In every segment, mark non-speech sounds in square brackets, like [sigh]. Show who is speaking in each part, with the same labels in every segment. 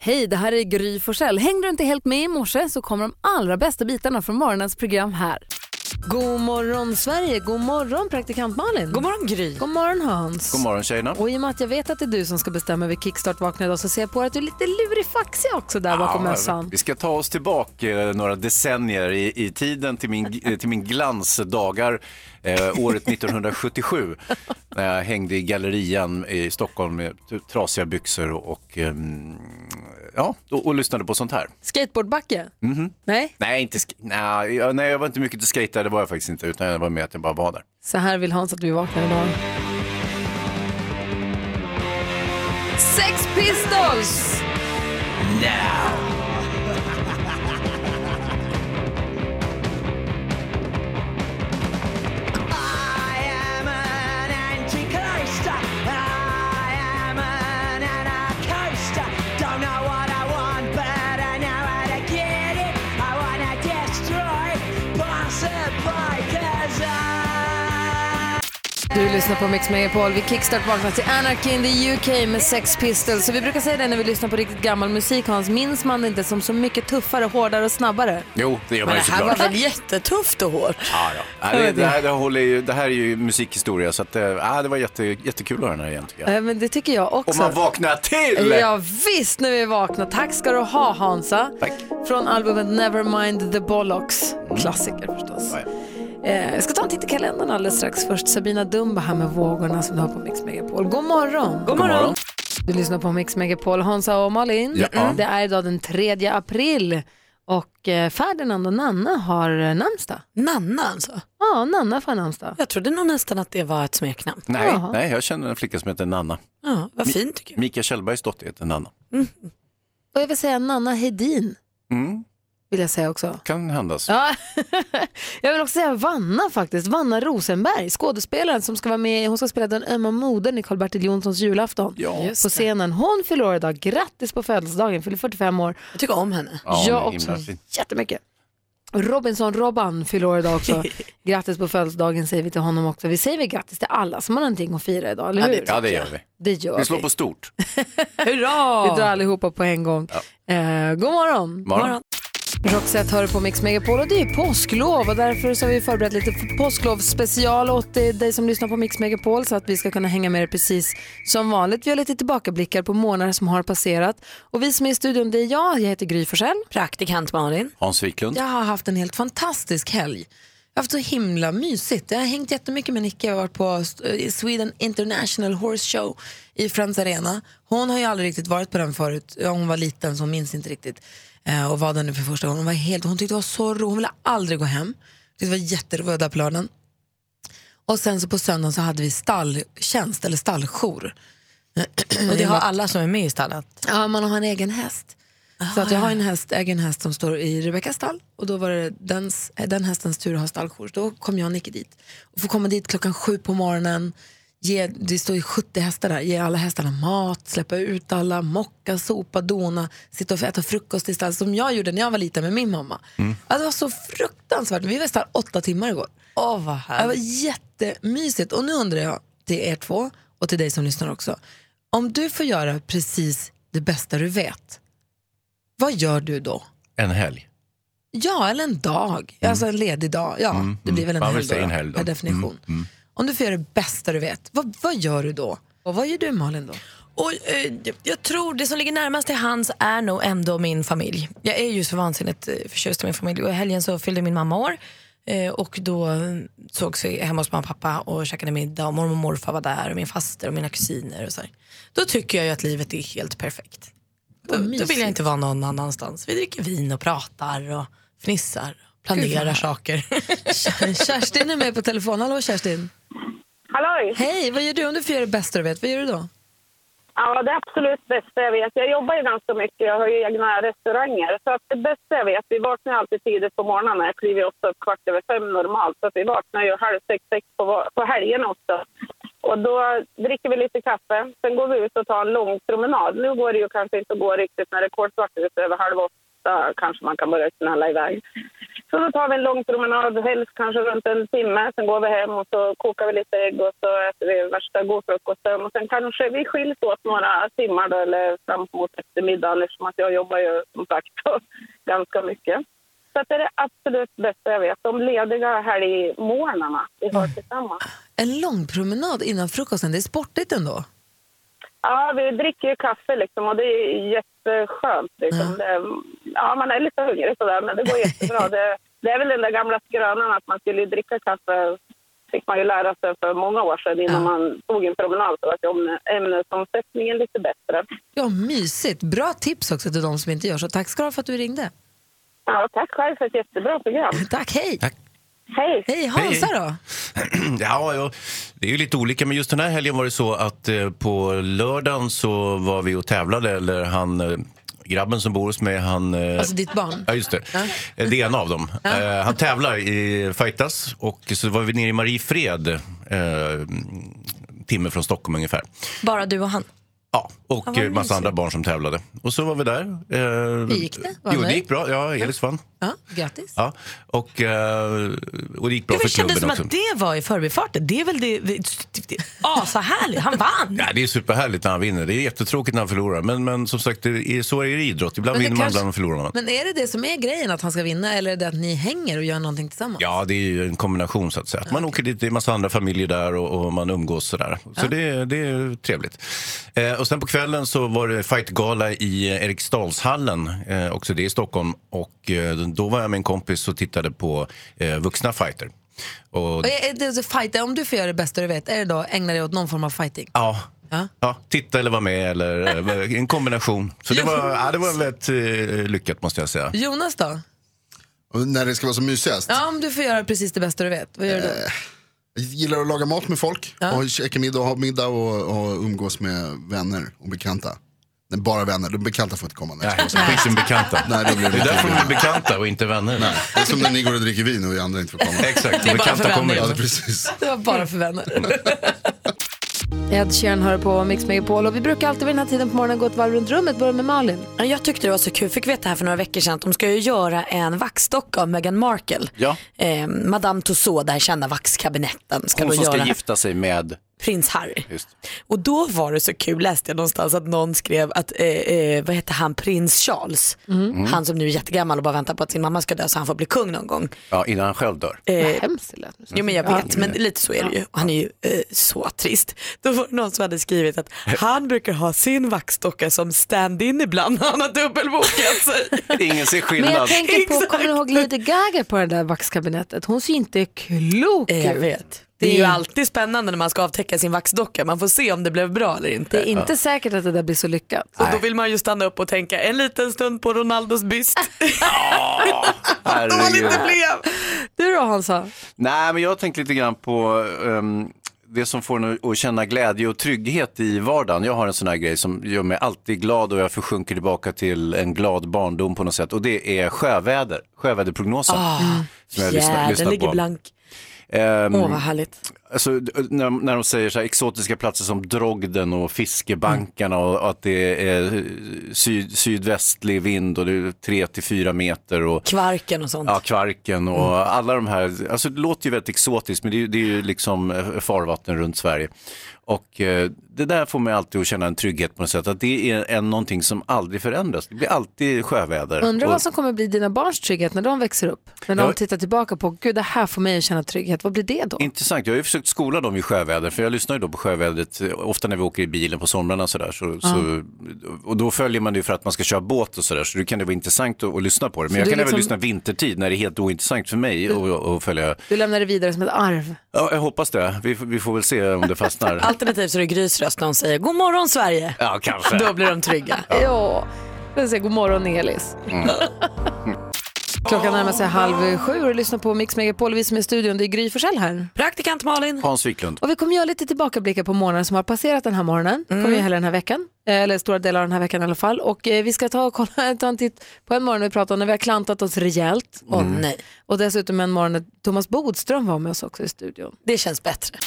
Speaker 1: Hej, det här är Gry Forssell. Hängde du inte helt med i morse så kommer de allra bästa bitarna från morgonens program här. God morgon Sverige, god morgon praktikant Malin.
Speaker 2: God morgon Gry.
Speaker 1: God morgon Hans.
Speaker 3: God morgon tjejerna.
Speaker 1: Och i och med att jag vet att det är du som ska bestämma över Kickstart vakna idag så ser jag på att du är lite lurifaxig också där bakom mössan.
Speaker 3: Vi ska ta oss tillbaka eh, några decennier i, i tiden till min, eh, till min glansdagar eh,
Speaker 2: [laughs]
Speaker 3: året 1977 när jag hängde i gallerian i Stockholm med t- trasiga byxor och, ehm, ja, och, och lyssnade på sånt här. Mhm.
Speaker 1: Skateboardbacke? Nej,
Speaker 3: Nej, inte sk- nej, jag, nej, jag var inte mycket till skejtare, det var jag faktiskt inte, utan jag var med att jag bara var där.
Speaker 1: så här vill Hans att vi vaknar idag. Sex Pistols! Du lyssnar på Mix Megapol. Vi kickstart vaknar till Anarchy in the UK med Sex Pistols. Så vi brukar säga det när vi lyssnar på riktigt gammal musik, Hans. Minns man det inte som så mycket tuffare, hårdare och snabbare?
Speaker 3: Jo, det gör man ju
Speaker 2: Det här var
Speaker 3: såklart.
Speaker 2: väl jättetufft och hårt?
Speaker 3: Ja, ja. Nej, det, det, här, det, håller ju, det här är ju musikhistoria, så att, eh, ja, det var jätte, jättekul att höra den här igen tycker jag.
Speaker 1: Ja, Eh, men det tycker jag också.
Speaker 3: Och man vaknar till!
Speaker 1: Ja visst, nu är vi vakna. Tack ska du ha Hansa.
Speaker 3: Tack. Mm.
Speaker 1: Från albumet Nevermind the Bollocks. Klassiker förstås.
Speaker 3: Ja, ja.
Speaker 1: Eh, jag ska ta en titt i kalendern alldeles strax. Först Sabina Dumba här med Vågorna som du har på Mix Megapol. God morgon!
Speaker 2: God morgon. morgon.
Speaker 1: Du lyssnar på Mix Megapol, Hansa och Malin.
Speaker 3: Ja.
Speaker 1: Mm. Det är idag den 3 april och eh, Ferdinand och Nanna har eh, namnsdag.
Speaker 2: Nanna alltså.
Speaker 1: Ja, Nanna får namnsdag.
Speaker 2: Jag trodde nog nästan att det var ett smeknamn.
Speaker 3: Nej,
Speaker 1: Jaha.
Speaker 3: nej, jag känner en flicka som heter Nanna.
Speaker 2: Ja, vad fint Mm. tycker jag.
Speaker 3: Mika Kjellbergs dotter heter Nanna.
Speaker 1: Och jag vill säga Nanna Hedin,
Speaker 3: Mm, alltså.
Speaker 1: vill jag säga också.
Speaker 3: kan händas.
Speaker 1: Ja. [laughs] Jag vill också säga Vanna faktiskt, Vanna Rosenberg, skådespelaren som ska vara med, hon ska spela den ömma modern i Karl-Bertil Jonssons julafton
Speaker 3: Ja.
Speaker 2: Just
Speaker 1: på
Speaker 2: det.
Speaker 1: scenen. Hon fyller år idag, grattis på födelsedagen, fyller 45 år.
Speaker 2: Jag tycker om henne.
Speaker 3: Ja,
Speaker 1: jag
Speaker 3: hon är
Speaker 1: också,
Speaker 3: himla fin.
Speaker 1: jättemycket. Robinson-Robban fyller år
Speaker 2: [laughs]
Speaker 1: idag också. grattis på födelsedagen säger vi till honom också. Vi säger väl grattis till alla som har någonting att fira idag, eller
Speaker 2: Ja,
Speaker 1: hur?
Speaker 2: det
Speaker 3: Ja, det gör vi.
Speaker 1: Det gör
Speaker 3: Vi
Speaker 1: vi.
Speaker 3: slår på stort.
Speaker 1: Vi drar
Speaker 2: Hurra!
Speaker 1: allihopa på en gång. Eh, god morgon!
Speaker 3: Morgon.
Speaker 1: Roxette hör på Mix Megapol och det är påsklov och därför så har vi förberett lite påsklovsspecial åt eh, dig som lyssnar på Mix Megapol så att vi ska kunna hänga med dig precis som vanligt. Vi har lite tillbakablickar på månader som har passerat och vi som är i studion det är jag, jag heter Gry Forssell.
Speaker 2: Praktikant Malin.
Speaker 3: Hans Wiklund.
Speaker 4: Jag har haft en helt fantastisk helg. Jag har haft så himla mysigt. Jag har hängt jättemycket med Nicke. Jag har varit på eh, Sweden International Horse Show i Friends Arena. Hon har ju aldrig riktigt varit på den förut. Ja, Hon var liten så hon minns inte riktigt. Eh, och var där nu för första gången. Hon, var helt, hon tyckte det var så roligt. Hon ville aldrig gå hem. Det var jätteroligt att vara där på lördagen. Och sen så på söndagen så hade vi stalltjänst eller
Speaker 2: [clears throat]
Speaker 4: stalljour.
Speaker 2: Och det har alla som är med i stallet.
Speaker 4: Ja, man har en egen häst. så att jag har en häst, egen häst som står i Rebeckas stall och då var det dens, eh, den hästens tur att ha stalljour. Då kom jag och Nicke dit. Och får komma dit klockan sju på morgonen. Ge, det står ju 70 hästar där. Ge alla hästarna mat, släppa ut alla, mocka, sopa, dona, sitta och äta frukost i stall som jag gjorde när jag var liten med min mamma. Alltså, det var så fruktansvärt. Vi var i stall åtta timmar igår.
Speaker 2: Åh, vad
Speaker 4: Det var
Speaker 2: härligt.
Speaker 4: jättemysigt. Och nu undrar jag till er två och till dig som lyssnar också. Om du får göra precis det bästa du vet, vad gör du då?
Speaker 3: En helg.
Speaker 4: Ja, eller en dag. Alltså en ledig dag. Ja, det blir väl en
Speaker 3: Mm. Man
Speaker 4: helg, då,
Speaker 3: vill säga en
Speaker 4: då,
Speaker 3: Mm, helg då.
Speaker 4: per definition. Om du får göra det bästa du vet, vad, vad gör du då? Och vad gör du Malin då?
Speaker 2: Och, eh, jag- jag tror det som ligger närmast till hands är nog ändå min familj. Jag är ju så vansinnigt eh, förtjust i min familj och i helgen så fyllde min mamma år eh, och då eh, sågs vi hemma hos mamma och pappa och käkade middag och mormor och morfar var där och min faster och mina kusiner och så här. Då tycker jag ju att livet är helt perfekt. Då, då vill jag inte vara någon annanstans. Vi dricker vin och pratar och fnissar och planerar saker.
Speaker 4: Kerstin är med på telefon. Hallå Kerstin.
Speaker 5: Halloj!
Speaker 4: Hej, vad gör du om du får göra det bästa du vet? Vad gör du då?
Speaker 5: Ja, det absolut bästa jag vet. Jag jobbar ju ganska mycket. Jag har ju egna restauranger. Så att det bästa jag vet, vi vaknar ju alltid tidigt på morgonen. Jag kliver ju ofta upp kvart över fem normalt. Så att vi vaknar ju halv sex, sex på, va- på helgen också. Och då dricker vi lite kaffe. Sen går vi ut och tar en lång promenad. Nu går det ju kanske inte att gå riktigt när det är kolsvart ute. Över halv åtta kanske man kan börja knalla iväg. Så då tar vi en lång promenad, helst kanske runt en timme. Sen går vi hem och så kokar vi lite ägg och så äter vi värsta godfrukosten. Och sen kanske vi skiljs åt några timmar då, eller fram mot eftermiddagen eftersom att jag jobbar ju som sagt ganska mycket. Så att det är det absolut bästa jag vet. De lediga helgmorgnarna vi har tillsammans.
Speaker 6: En lång promenad innan frukosten, det är sportigt ändå.
Speaker 5: Ja, vi dricker ju kaffe liksom och det är jätteskönt. Liksom. Det, ja, man är lite hungrig sådär, men det går jättebra. Det, det är väl den där gamla skrönan att man skulle ju dricka kaffe fick man ju lära sig för många år sedan innan man tog en promenad så att ämne- ämnesomsättningen lite bättre.
Speaker 6: Ja, mysigt. Bra tips också till de som inte gör så. Tack ska du ha för att du ringde.
Speaker 5: Ja, tack själv för ett jättebra program.
Speaker 6: Tack, hej.
Speaker 3: Tack.
Speaker 5: Hej!
Speaker 6: Hej, Hansa
Speaker 3: Hej.
Speaker 6: då?
Speaker 3: [clears throat] Ja, ja, det är ju lite olika, men just den här helgen var det så att eh, på lördagen så var vi och tävlade, eller han, eh, grabben som bor hos mig, han... eh,
Speaker 6: Alltså ditt barn.
Speaker 3: Ja, just det. Eh, Det är en av dem. Eh, han tävlar i Fightas och så var vi nere i Mariefred, eh, en timme från Stockholm ungefär.
Speaker 2: Bara du och han.
Speaker 3: Ja, och eh, massa andra barn som tävlade. Och så var vi där. Eh,
Speaker 6: Hur gick det? Var
Speaker 3: jo, det
Speaker 6: nöjd?
Speaker 3: gick bra. Ja, Elis vann.
Speaker 6: Ja, grattis.
Speaker 3: Ja, och, eh, och det gick bra
Speaker 2: Det
Speaker 3: för
Speaker 2: kändes
Speaker 3: klubben
Speaker 2: som
Speaker 3: också.
Speaker 2: att det var i förbifarten. Det är väl det... det, det, det Ashärligt, han
Speaker 3: [laughs]
Speaker 2: vann!
Speaker 3: Ja, det är superhärligt när han vinner. Det är jättetråkigt när han förlorar. Men, men som sagt, det är, så är det i idrott. Ibland
Speaker 6: Men det
Speaker 3: vinner man,
Speaker 6: kanske-
Speaker 3: ibland förlorar man.
Speaker 6: Men är det det som är grejen, att han ska vinna, eller är det att ni hänger och gör någonting tillsammans?
Speaker 3: Ja, det är ju en kombination så att säga. Att Man åker dit, det är massa andra familjer där och, och man umgås sådär. Så det, det är trevligt. Eh, och sen på kvällen så var det fightgala i eh, Eriksdalshallen, eh, också det i Stockholm. Och eh, då var jag med en kompis och tittade på eh, vuxna fighter. Och,
Speaker 6: Och är- är det så fight, om du får göra det bästa du vet, är det då ägna dig åt någon form av fighting?
Speaker 3: ja.
Speaker 6: Ja.
Speaker 3: Ja, titta eller vara med eller eh, en kombination. Så det var, ja, det var väldigt eh, lyckat måste jag säga.
Speaker 6: Jonas då?
Speaker 7: Och När det ska vara som mysigast.
Speaker 6: Ja, om du får göra precis det bästa du vet, vad gör du då?
Speaker 7: Jag gillar att laga mat med folk, och käka middag och ha middag och, och umgås med vänner och bekanta. Nej, bara vänner, de bekanta får inte komma. Nej.
Speaker 3: Nej, skit som bekanta.
Speaker 7: Nej, det blir
Speaker 3: det är därför de
Speaker 7: inte.
Speaker 3: är bekanta och inte vänner.
Speaker 7: Det är som när ni går och dricker vin och vi andra inte får komma.
Speaker 3: Exakt,
Speaker 6: bara
Speaker 3: bekanta kommer
Speaker 6: förväntningar.
Speaker 7: Ja,
Speaker 3: in.
Speaker 7: precis.
Speaker 6: [laughs] Det var bara för vänner. [laughs]
Speaker 1: Ed Sheeran hör på Mix Megapol och vi brukar alltid vid den här tiden på morgonen gå ett varv runt rummet. Börja med Malin.
Speaker 2: Ja, Jag tyckte det var så kul, fick veta här för några veckor sedan att de ska ju göra en vaxdocka av Meghan Markle.
Speaker 8: Ja.
Speaker 2: Eh, Madame Tussauds, det här kända vaxkabinetten, ska
Speaker 8: Hon
Speaker 2: då
Speaker 8: som
Speaker 2: göra
Speaker 8: ska gifta sig med...
Speaker 2: prins Harry.
Speaker 8: Just.
Speaker 2: Och då var det så kul, läste jag någonstans att någon skrev att, eh, eh, vad hette han, prins Charles,
Speaker 1: Mm.
Speaker 8: Mm.
Speaker 2: han som nu är jättegammal och bara väntar på att sin mamma ska dö så han får bli kung någon gång.
Speaker 8: Ja, innan han själv dör.
Speaker 2: Eh,
Speaker 1: Vad hemskt det lät.
Speaker 2: Jo men jag vet, men lite så är det ju. Och Han är ju eh, så trist. Då var det någon som hade skrivit att han brukar ha sin vaxdocka som stand-in ibland när han har dubbelbokat sig.
Speaker 8: [laughs] Ingen ser
Speaker 1: Men jag
Speaker 8: skillnad.
Speaker 1: tänker på,
Speaker 2: Exakt.
Speaker 1: kommer du ihåg Lady Gaga på det där vaxkabinettet? Hon ser ju inte klok
Speaker 2: Jag
Speaker 1: ut.
Speaker 2: vet. Det är ju alltid spännande när man ska avtäcka sin vaxdocka. Man får se om det blev bra eller
Speaker 1: Det
Speaker 2: inte.
Speaker 1: är inte säkert att det där blir så lyckat.
Speaker 2: Och då vill man ju stanna upp och tänka en liten stund på Ronaldos [laughs] byst. Om
Speaker 8: [laughs]
Speaker 2: han
Speaker 8: Herregud.
Speaker 2: inte blev.
Speaker 1: Du då Hansa?
Speaker 8: Nej, men jag har tänkt lite grann på ehm, det som får en att känna glädje och trygghet i vardagen. Jag har en sån här grej som gör mig alltid glad och jag försjunker tillbaka till en glad barndom på något sätt. Och det är sjöväder, sjöväderprognosen. som jag lyssnar, lyssnar på.
Speaker 2: Ah, blank.
Speaker 8: Ehm,
Speaker 2: Åh vad härligt.
Speaker 8: Alltså, d- när, när de säger så här, exotiska platser som Drogden och fiskebankarna
Speaker 2: Mm.
Speaker 8: och, och att det är eh, syd, sydvästlig vind och det är 3 till 4 meter och
Speaker 2: Kvarken och sånt. Mm.
Speaker 8: ja, Kvarken och alla de här. Alltså, det låter ju väldigt exotiskt men det är, ju- det är ju liksom eh, farvatten runt Sverige. Och eh, det där får mig alltid att känna en trygghet på något sätt att det är en, någonting som aldrig förändras. Det blir alltid sjöväder.
Speaker 1: Undrar
Speaker 8: Och-
Speaker 1: vad som kommer bli dina barns trygghet när de växer upp? När de
Speaker 8: Ja.
Speaker 1: tittar tillbaka på, gud det här får mig att känna trygghet. Vad blir det då?
Speaker 8: Intressant, jag har ju försökt skola dem i sjöväder, för jag lyssnar ju då på sjövädret eh, ofta när vi åker i bilen på somrarna sådär. Så, så, och då följer man det ju för att man ska köra båt och sådär, så då kan det vara intressant att, att lyssna på det. Men jag
Speaker 1: du
Speaker 8: kan även
Speaker 1: liksom-
Speaker 8: lyssna vintertid när det är helt ointressant för mig att- att följa.
Speaker 1: Du lämnar det vidare som ett arv.
Speaker 8: Ja, jag hoppas det, vi, får- vi får väl se om det fastnar.
Speaker 2: Alternativt så är det Grys röst när hon säger god morgon Sverige.
Speaker 8: Ja, kanske.
Speaker 2: Då blir de trygga.
Speaker 1: Ja, jag säger god morgon Elis.
Speaker 8: Mm.
Speaker 1: Klockan närmar sig halv sju och du lyssnar på Mix Megapol. Vi som är i studion, det är Gry Forssell här.
Speaker 2: Praktikant Malin.
Speaker 8: Hans Wiklund.
Speaker 1: Och vi kommer göra lite tillbakablickar på månaden som har passerat den här morgonen.
Speaker 2: Mm.
Speaker 1: Kommer ju hela den här veckan. Eh, Eller stora delar av den här veckan i alla fall. Och eh, vi ska ta och kolla, [laughs] ta en titt på en morgon vi pratade om när vi har klantat oss rejält. Mm.
Speaker 2: Åh nej,
Speaker 1: Och dessutom en morgon när Thomas Bodström var med oss också i studion.
Speaker 2: det känns bättre.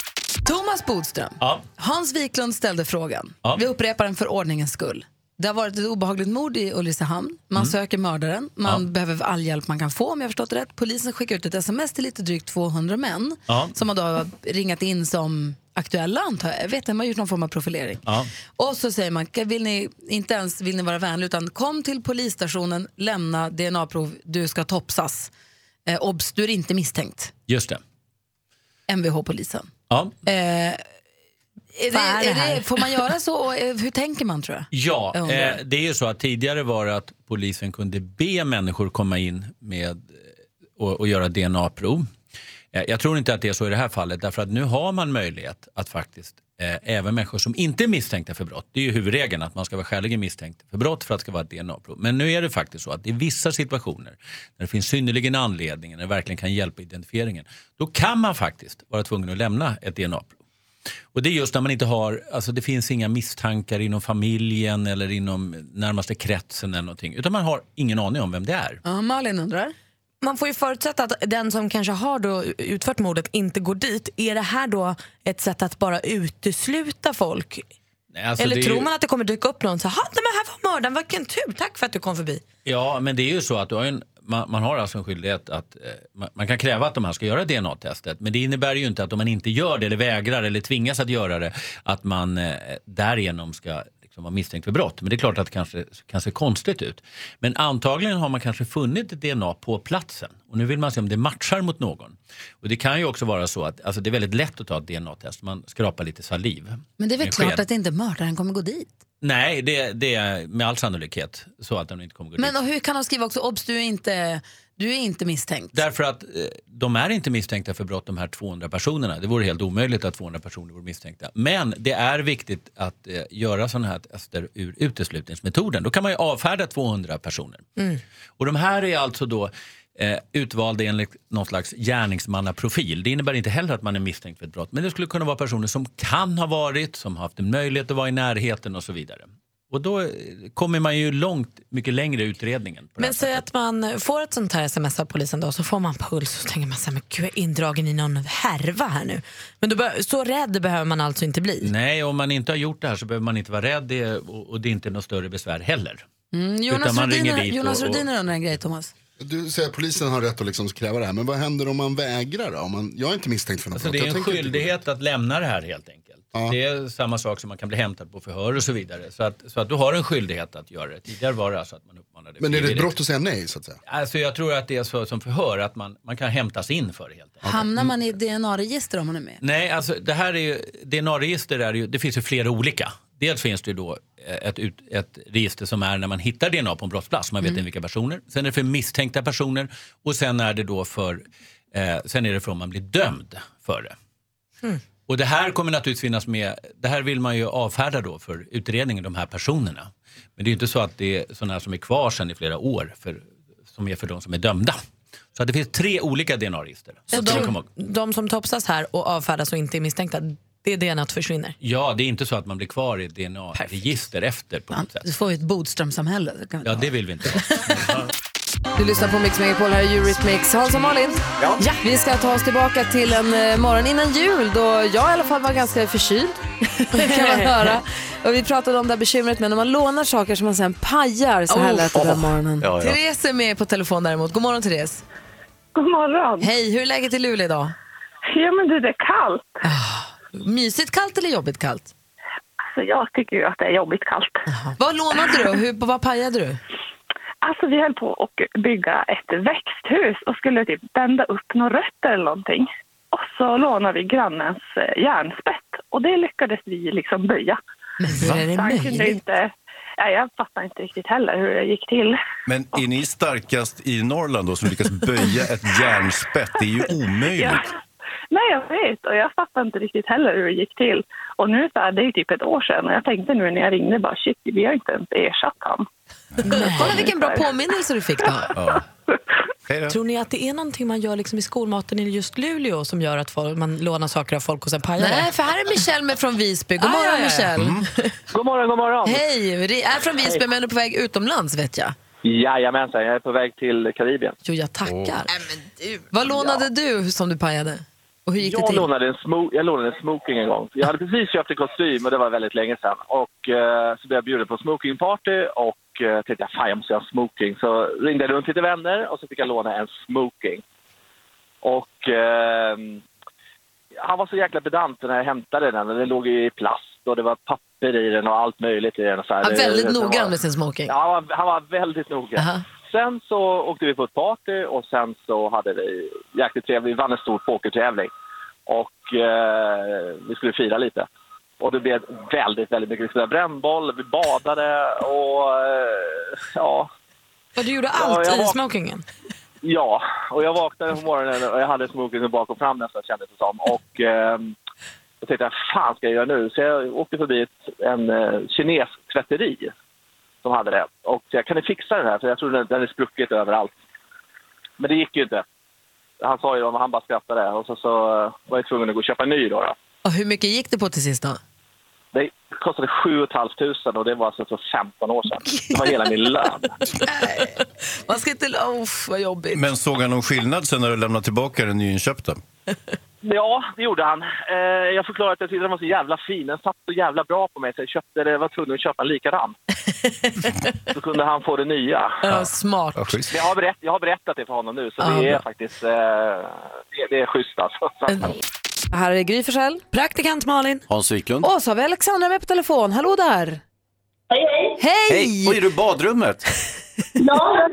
Speaker 6: Thomas Bodström,
Speaker 9: Ja.
Speaker 6: Hans Wiklund ställde frågan.
Speaker 9: Ja.
Speaker 6: Vi upprepar den för ordningens skull. Det har varit ett obehagligt mord i Ulricehamn. Man
Speaker 3: Mm.
Speaker 6: söker mördaren. Man behöver all hjälp man kan få om jag förstått det rätt. Polisen skickar ut ett sms till lite drygt 200 män
Speaker 3: Ja.
Speaker 6: som man då har ringat in som aktuella antar jag. jag. vet inte, man har gjort någon form av profilering.
Speaker 3: Ja.
Speaker 6: Och så säger man, vill ni, inte ens vill ni vara vänliga utan kom till polisstationen, lämna DNA-prov, du ska topsas. Eh, obs, du är inte misstänkt.
Speaker 9: Just det.
Speaker 6: Mvh-polisen.
Speaker 9: Ja.
Speaker 6: Är
Speaker 2: Vad är det
Speaker 6: Eh, är
Speaker 2: här?
Speaker 6: får man göra så? Och, eh, hur tänker man tror jag?
Speaker 9: Ja,
Speaker 6: Jag undrar.
Speaker 9: eh, det är ju så att tidigare var det att polisen kunde be människor komma in med eh, och, och göra DNA-prov. Eh, jag tror inte att det är så i det här fallet därför att nu har man möjlighet att faktiskt eh, även människor som inte är misstänkta för brott, det är ju huvudregeln att man ska vara skäligen misstänkt för brott för att det ska vara ett DNA-prov. Men nu är det faktiskt så att i vissa situationer när det finns synnerligen anledning, när det verkligen kan hjälpa identifieringen, då kan man faktiskt vara tvungen att lämna ett DNA-prov. Och det är just när man inte har, alltså det finns inga misstankar inom familjen eller inom närmaste kretsen eller någonting. Utan man har ingen aning om vem det är.
Speaker 6: Ja, Malin undrar.
Speaker 2: Man får ju förutsätta att den som kanske har då utfört mordet inte går dit. Är det här då ett sätt att bara utesluta folk?
Speaker 9: Nej, alltså det
Speaker 2: Eller
Speaker 9: är
Speaker 2: tror
Speaker 9: ju,
Speaker 2: man att det kommer dyka upp någon så här, "Ha, nej, men här var mördaren, vilken tur, tack för att du kom förbi.
Speaker 9: Ja, men det är ju så att du har ju en, man, man har alltså en skyldighet att eh, man, man kan kräva att de här ska göra DNA-testet. Men det innebär ju inte att om man inte gör det eller vägrar eller tvingas att göra det att man eh, därigenom ska liksom vara misstänkt för brott. Men det är klart att det kanske kan se konstigt ut. Men antagligen har man kanske funnit ett DNA på platsen. Och nu vill man se om det matchar mot någon. Och det kan ju också vara så att alltså det är väldigt lätt att ta ett DNA-test. Man skrapar lite saliv.
Speaker 6: Men det är väl
Speaker 9: En sked.
Speaker 6: klart att inte mördaren kommer gå dit.
Speaker 9: Nej, det, det är med all sannolikhet så att den inte kommer gå dit.
Speaker 6: Men och hur kan de skriva också, obs du är inte, du är inte misstänkt.
Speaker 9: Därför att eh, de är inte misstänkta för brott de här 200 personerna. Det vore helt omöjligt att 200 personer vore misstänkta. Men det är viktigt att eh, göra sådana här tester ur uteslutningsmetoden. Då kan man ju avfärda 200 personer. Och de här är alltså då eh, utvalda enligt någon slags gärningsmannaprofil. Det innebär inte heller att man är misstänkt för ett brott. Men det skulle kunna vara personer som kan ha varit, som har haft en möjlighet att vara i närheten och så vidare. Och då eh, kommer man ju långt mycket längre i utredningen. på det här
Speaker 2: Men säg att man får ett sånt här sms av polisen då, så får man puls och så tänker man så här, men gud jag är indragen i någon härva här nu. Men då bör, så rädd behöver man alltså inte bli.
Speaker 9: Nej, om man inte har gjort det här så behöver man inte vara rädd det, är- och, och det är inte något större besvär heller.
Speaker 6: Mm, Jonas
Speaker 9: Utan man ringer
Speaker 6: Rhodiner
Speaker 9: dit
Speaker 6: Jonas
Speaker 9: och- och-
Speaker 6: Rhodiner undrar en grej Thomas.
Speaker 7: Du säger att polisen har rätt att liksom kräva det här, men vad händer om man vägrar då? Om man, jag är inte misstänkt för något
Speaker 9: Så Alltså, det
Speaker 7: brott. Jag
Speaker 9: är en
Speaker 7: tänker inte-
Speaker 9: skyldighet att lämna det här helt enkelt. Det är samma sak som man kan bli hämtad på förhör och så vidare. Så att, så att du har en skyldighet att göra det. Tidigare var det alltså att man uppmanade
Speaker 7: Men är det ett
Speaker 9: frivilligt.
Speaker 7: brott att säga nej så att säga?
Speaker 9: Alltså jag tror att det är så som förhör, att man, man kan hämtas in för det helt enkelt.
Speaker 6: Hamnar man i DNA-register om man är med?
Speaker 9: Nej, alltså det här är ju, DNA-register är ju, det finns ju flera olika. Dels finns det ju då eh, ett, ut- ett register som är när man hittar DNA på en brottsplats, så man vet inte vilka personer. Sen är det för misstänkta personer och sen är det då för, eh, sen är det för om man blir dömd för det.
Speaker 10: Mm.
Speaker 9: Och det här kommer naturligtvis finnas med, det här vill man ju avfärda då för utredningen, de här personerna. Men det är ju inte så att det är sådana här som är kvar sen i flera år, för, som är för de som är dömda. Så att det finns tre olika DNA-register.
Speaker 2: Så
Speaker 9: Det ska man komma
Speaker 2: de,
Speaker 9: ihåg.
Speaker 2: de som topsas här och avfärdas och inte är misstänkta, det är det att försvinner.
Speaker 9: Ja, det är inte så att man blir kvar i ett DNA-register efter på något
Speaker 6: Du
Speaker 9: sätt.
Speaker 6: får ju ett
Speaker 2: [laughs]
Speaker 6: Bodströmsamhälle. det Kan vi
Speaker 9: Ja,
Speaker 6: ta.
Speaker 9: det vill
Speaker 6: [laughs]
Speaker 9: vi inte ha.
Speaker 1: Du lyssnar på Mix Megapol, här är Eurythmics. Hans och Malin, ja. vi ska ta oss tillbaka till en eh, morgon innan jul då jag i alla fall var
Speaker 6: [laughs]
Speaker 1: ganska förkyld. kan man höra. Och vi pratade om det här bekymret med när man lånar saker som man sen pajar. Så här
Speaker 6: Oh.
Speaker 1: lät det den morgonen.
Speaker 8: Ja, ja.
Speaker 6: Therese är med på telefon däremot. God morgon Therese.
Speaker 5: God morgon!
Speaker 6: Hej, hur är läget i Luleå idag? Ah,
Speaker 5: Ja, men du, det är kallt.
Speaker 6: Mysigt kallt eller jobbigt kallt?
Speaker 5: Alltså, jag tycker ju att det är jobbigt kallt.
Speaker 6: Vad lånade du då? Hur, vad pajade du?
Speaker 5: Alltså, vi höll på att bygga ett växthus och skulle typ bända upp några rötter eller någonting. Och så lånade vi grannens eh, järnspett och det lyckades vi liksom böja.
Speaker 6: Men hur är det
Speaker 5: Så han kunde
Speaker 6: möjligt?
Speaker 5: inte... Ja, jag fattar inte riktigt heller hur det gick till. [laughs]
Speaker 3: Men är ni starkast i Norrland då som lyckas böja ett järnspett? Det är ju
Speaker 5: Ja.
Speaker 3: omöjligt.
Speaker 5: Nej, jag vet. Och jag fattar inte riktigt heller hur det gick till. Och nu så här, det är ju typ ett år sedan och jag tänkte nu när jag ringde bara shit, vi har inte ens ersatt han.
Speaker 6: Kolla vilken bra påminnelse du fick då.
Speaker 3: Hej då.
Speaker 2: Tror ni att det är någonting man gör liksom i skolmaten i just Luleå som gör att folk, man lånar saker av folk och sen pajar
Speaker 6: Nej,
Speaker 2: det?
Speaker 6: för här är Michelle med från Visby. God morgon
Speaker 2: Ah, ja, ja.
Speaker 6: Michelle. [laughs]
Speaker 11: God morgon, god morgon!
Speaker 6: Hej, det är från Visby men är på väg utomlands vet jag.
Speaker 11: Jajamensan, jag är på väg till Karibien.
Speaker 2: Jo, jag tackar.
Speaker 6: Nej, men du. Vad lånade du som du pajade? Och
Speaker 1: Och hur gick det
Speaker 11: Jag
Speaker 1: till?
Speaker 11: lånade, en smo- jag lånade en smoking en gång. Jag hade precis köpt en kostym och det var väldigt länge sedan. Och eh, så blev jag bjuden på smokingparty och eh, tänkte jag fan jag måste ha en smoking. Så ringde jag runt lite vänner och så fick jag låna en smoking. Och eh, han var så jäkla pedant när jag hämtade den. Den låg ju i plast och det var papper i den och allt möjligt i den. och Så här.
Speaker 6: Han är
Speaker 11: Det-
Speaker 6: väldigt
Speaker 11: det var-
Speaker 6: noggrann med sin smoking.
Speaker 11: Ja, han var, han var väldigt noga.
Speaker 6: Aha.
Speaker 11: Sen så åkte vi på ett party och sen så hade vi jäkligt trevligt. Vi vann en stor pokertävling och eh, vi skulle fira lite. Och det blev väldigt, väldigt mycket. Vi spelade brännboll, vi badade och eh, ja,
Speaker 2: Och du gjorde
Speaker 11: Ja,
Speaker 2: allt
Speaker 11: jag
Speaker 2: i
Speaker 11: var-
Speaker 2: smokingen?
Speaker 11: ja. Och jag vaknade på morgonen och jag hade smokingen bak och fram nästan kändes det som. Och eh, jag tänkte, vad fan ska jag göra nu? Så jag åkte förbi ett, en eh, kines tvätteri som hade det. Och jag kan ni fixa den här? För jag tror den, den är sprucket överallt. Men det gick ju inte. Han sa ju om han bara skrattade och så, så eh, var jag tvungen att gå och köpa en ny då. då.
Speaker 6: Och hur mycket gick det på till sist då?
Speaker 11: Det kostade 7 500 och det var alltså för 15 år sedan. Det var hela
Speaker 6: [laughs]
Speaker 11: min lön.
Speaker 6: Man ska inte... Oh, vad jobbigt.
Speaker 3: Men såg han någon skillnad sen när du lämnade tillbaka den nyinköpta?
Speaker 11: Ja, det gjorde han. Eh, jag förklarade att jag tyckte den var så jävla fin. Den satt så jävla bra på mig så jag köpte det. Jag var tvungen att köpa en
Speaker 6: [laughs]
Speaker 11: likadan. så kunde han få det nya.
Speaker 6: Ja, smart.
Speaker 3: Ja, schysst.
Speaker 11: Jag har, berätt, jag har berättat det för honom nu så
Speaker 6: Ja,
Speaker 11: det är
Speaker 6: bra.
Speaker 11: faktiskt eh, det, det är schysst alltså.
Speaker 1: Här är Gry Forssell.
Speaker 2: Praktikant Malin?
Speaker 8: Hans Wiklund.
Speaker 1: Och så har vi Alexandra med på telefon. Hallå där!
Speaker 5: Hej, hej!
Speaker 1: Hej!
Speaker 8: Hej! Och är du i badrummet?
Speaker 5: Ja,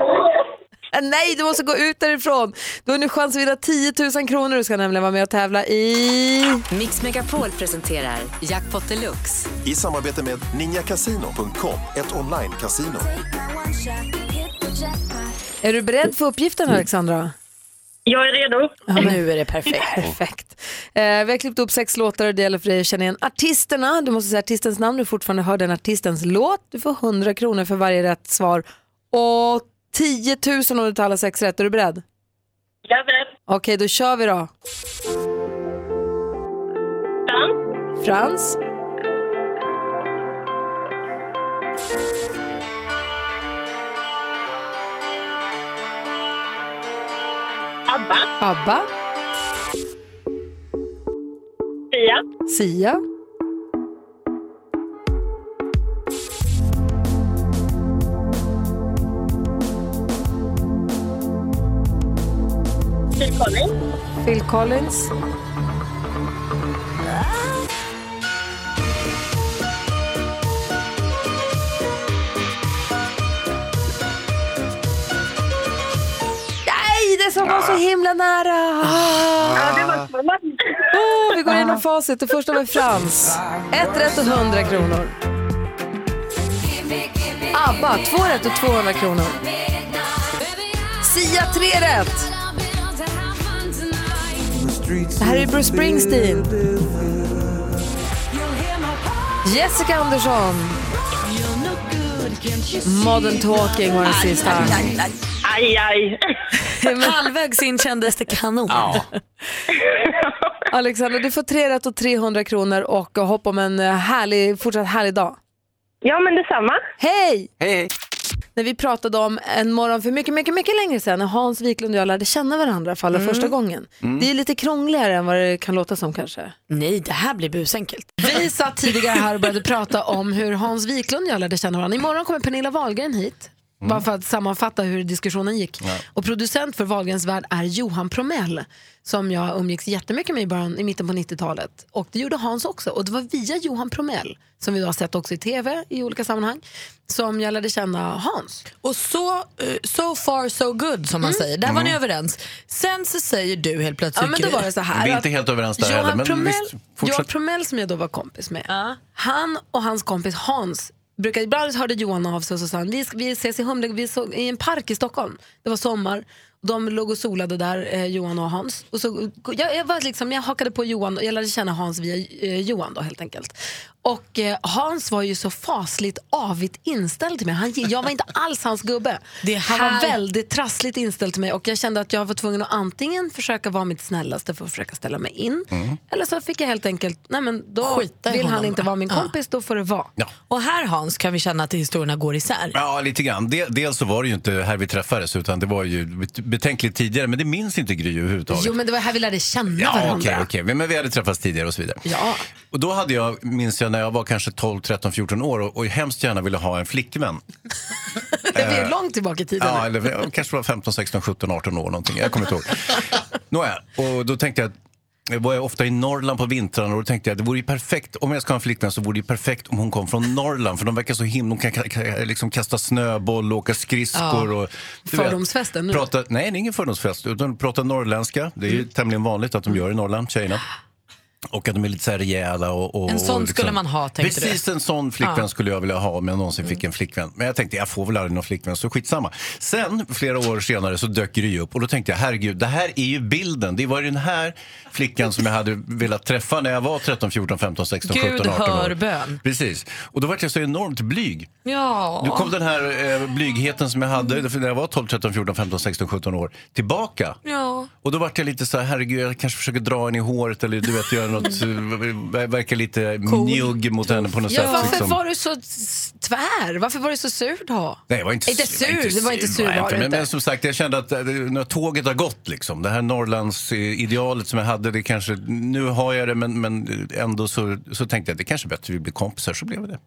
Speaker 1: Äh, [laughs] Nej, du måste gå ut därifrån. Du har nu chans att vinna 10 000 kronor. Du ska nämligen vara med och tävla i...
Speaker 12: Mix Megapol presenterar Jackpot Deluxe.
Speaker 13: I samarbete med ninjakasino.com, ett online-casino.
Speaker 1: Är du beredd för uppgiften Alexandra?
Speaker 5: jag är redo.
Speaker 1: Ja, men nu är det perfekt. perfekt. Eh, vi har klippt upp sex låtar och det gäller för dig att känna igen artisterna. Du måste säga artistens namn, du fortfarande hör den artistens låt. Du får 100 kronor för varje rätt svar och 10 000 om du tar alla sex rätt. Är du beredd?
Speaker 5: Jag är beredd.
Speaker 1: Okej, då kör vi då.
Speaker 5: Dans,
Speaker 1: Frans,
Speaker 5: ABBA,
Speaker 1: ABBA,
Speaker 5: Sia,
Speaker 1: Sia,
Speaker 5: Phil Collins,
Speaker 1: Phil Collins, Nej, det som var så himla nära! Åh, vi går igenom facit. Det första var Frans. Ett rätt och 100 kronor. ABBA, två rätt och 200 kronor. Sia, tre rätt. Det här är Bruce Springsteen. Jessica Andersson. Modern Talking var den sista.
Speaker 5: aj, aj.
Speaker 1: [laughs]
Speaker 2: Halvvägs in kändes det kanon.
Speaker 1: Alexander, du får tre rätt och 300 kronor och hopp om en eh, härlig, fortsatt härlig dag.
Speaker 5: Ja, men detsamma.
Speaker 1: Hej!
Speaker 8: Hej, hej.
Speaker 1: När vi pratade om en morgon för mycket, mycket, mycket längre sedan när Hans Wiklund och jag lärde känna varandra för
Speaker 8: Mm.
Speaker 1: allra första gången. Det är lite krångligare än vad det kan låta som kanske.
Speaker 2: Nej, det här blir busenkelt.
Speaker 6: Vi satt tidigare här och började prata om hur Hans Wiklund och jag lärde känna varandra. Imorgon kommer Pernilla Wahlgren hit. Bara för att sammanfatta hur diskussionen gick. Och producent för Wahlgrens värld är Johan Promell. Som jag umgicks jättemycket med i, början, i mitten på 90-talet. Och det gjorde Hans också. Och det var via Johan Promell, som vi då har sett också i tv i olika sammanhang. Som jag lärde känna Hans.
Speaker 2: Och så, eh, so far so good som man säger. Där var ni
Speaker 3: Mm.
Speaker 2: överens. Sen så säger du helt plötsligt
Speaker 6: Ja men då
Speaker 2: Gry.
Speaker 6: var det så här.
Speaker 3: Vi är
Speaker 6: att-
Speaker 3: [laughs] inte helt överens där heller,
Speaker 6: Johan
Speaker 3: men
Speaker 6: Promell,
Speaker 3: visst,
Speaker 6: Johan
Speaker 3: fortsätt.
Speaker 6: Promell som jag då var kompis med, han och hans kompis Hans brukade, ibland hörde Johan av sig och så sa han, vi, ska- vi ses i Humle, vi såg, i en park i Stockholm. Det var sommar, de låg och solade där, eh, Johan och Hans. Och så, jag, jag, var liksom, jag hakade på Johan och jag lärde känna Hans via eh, Johan då helt enkelt. Och eh, Hans var ju så fasligt avigt inställd till mig. Han, jag var inte alls hans gubbe.
Speaker 2: Det
Speaker 6: han var
Speaker 2: här-
Speaker 6: väldigt trassligt inställd till mig och jag kände att jag var tvungen att antingen försöka vara mitt snällaste för att försöka ställa mig in. Eller så fick jag helt enkelt, nej men då
Speaker 2: Skita i
Speaker 6: vill han
Speaker 2: honom.
Speaker 6: inte vara min kompis, då får det vara.
Speaker 2: Och här Hans kan vi känna att historierna går isär.
Speaker 3: Ja, lite grann. De, dels så var det ju inte här vi träffades, utan det var ju betänkligt tidigare, men det minns inte Gry överhuvudtaget.
Speaker 1: Jo, men det var här vi lärde känna
Speaker 3: Ja,
Speaker 1: varandra.
Speaker 3: okej, okej. Men- Men vi hade träffats tidigare och så vidare.
Speaker 1: Ja.
Speaker 3: Och då hade jag, minns jag när jag var kanske 12, 13, 14 år och, och hemskt gärna ville ha en flickvän.
Speaker 1: [laughs] Det blir
Speaker 3: Eh,
Speaker 1: långt tillbaka i tiden.
Speaker 3: Ja, eller
Speaker 2: [laughs]
Speaker 3: jag kanske var 15, 16, 17, 18 år någonting. Jag kommer inte ihåg. Nåja, och då tänkte jag att jag var jag ofta i Norrland på vintrarna och då tänkte jag att det vore ju perfekt, om jag ska ha en flickvän så vore det ju perfekt om hon kom från Norrland för de verkar så himla, de kan, kan, kan liksom kasta snöboll och åka skridskor
Speaker 1: Ja.
Speaker 3: och... du vet,
Speaker 1: Fördomsfesten nu.
Speaker 3: Prata, nej, det är ingen fördomsfest, utan prata norrländska. Det är
Speaker 2: Mm.
Speaker 3: ju tämligen vanligt att de gör i Norrland, tjejerna. Och att de är lite så här rejäla och... och
Speaker 2: En sån
Speaker 3: och
Speaker 2: skulle man ha, tänkte du?
Speaker 3: Precis en sån flickvän
Speaker 2: Ja. Mm.
Speaker 3: skulle jag vilja ha om jag någonsin fick en flickvän. Men jag tänkte, jag får väl aldrig någon flickvän, så skitsamma. Sen, flera år senare, så dök Gry upp och då tänkte jag, herregud, det här är ju bilden. Det var ju den här flickan som jag hade velat träffa när jag var 13, 14, 15, 16,
Speaker 2: Gud
Speaker 3: 17, 18 år.
Speaker 2: hör bön.
Speaker 3: Precis. Och då var jag så enormt blyg.
Speaker 2: Ja.
Speaker 3: Nu kom den här eh, blygheten som jag hade
Speaker 2: Mm.
Speaker 3: för när jag var 12, 13, 14, 15, 16, 17 år tillbaka.
Speaker 2: Ja.
Speaker 3: Och då vart jag lite så här, herregud, jag kanske försöker dra henne i håret eller du vet,
Speaker 2: [laughs]
Speaker 3: göra något, eh, verka lite njugg mot henne på något
Speaker 1: Ja,
Speaker 3: sätt.
Speaker 1: varför
Speaker 3: liksom.
Speaker 1: var du så s- tvär? Varför var du så sur då?
Speaker 3: Nej, jag var inte,
Speaker 1: Inte
Speaker 3: jag
Speaker 1: sur, det var inte sur, var
Speaker 3: jag
Speaker 1: det
Speaker 3: men,
Speaker 1: inte.
Speaker 3: men som sagt, jag kände att eh, när tåget har gått, liksom, det här Norrlandsidealet som jag hade, det kanske, nu har jag det, men, men ändå så, så tänkte jag att det kanske är bättre att vi blir kompisar, så blev det.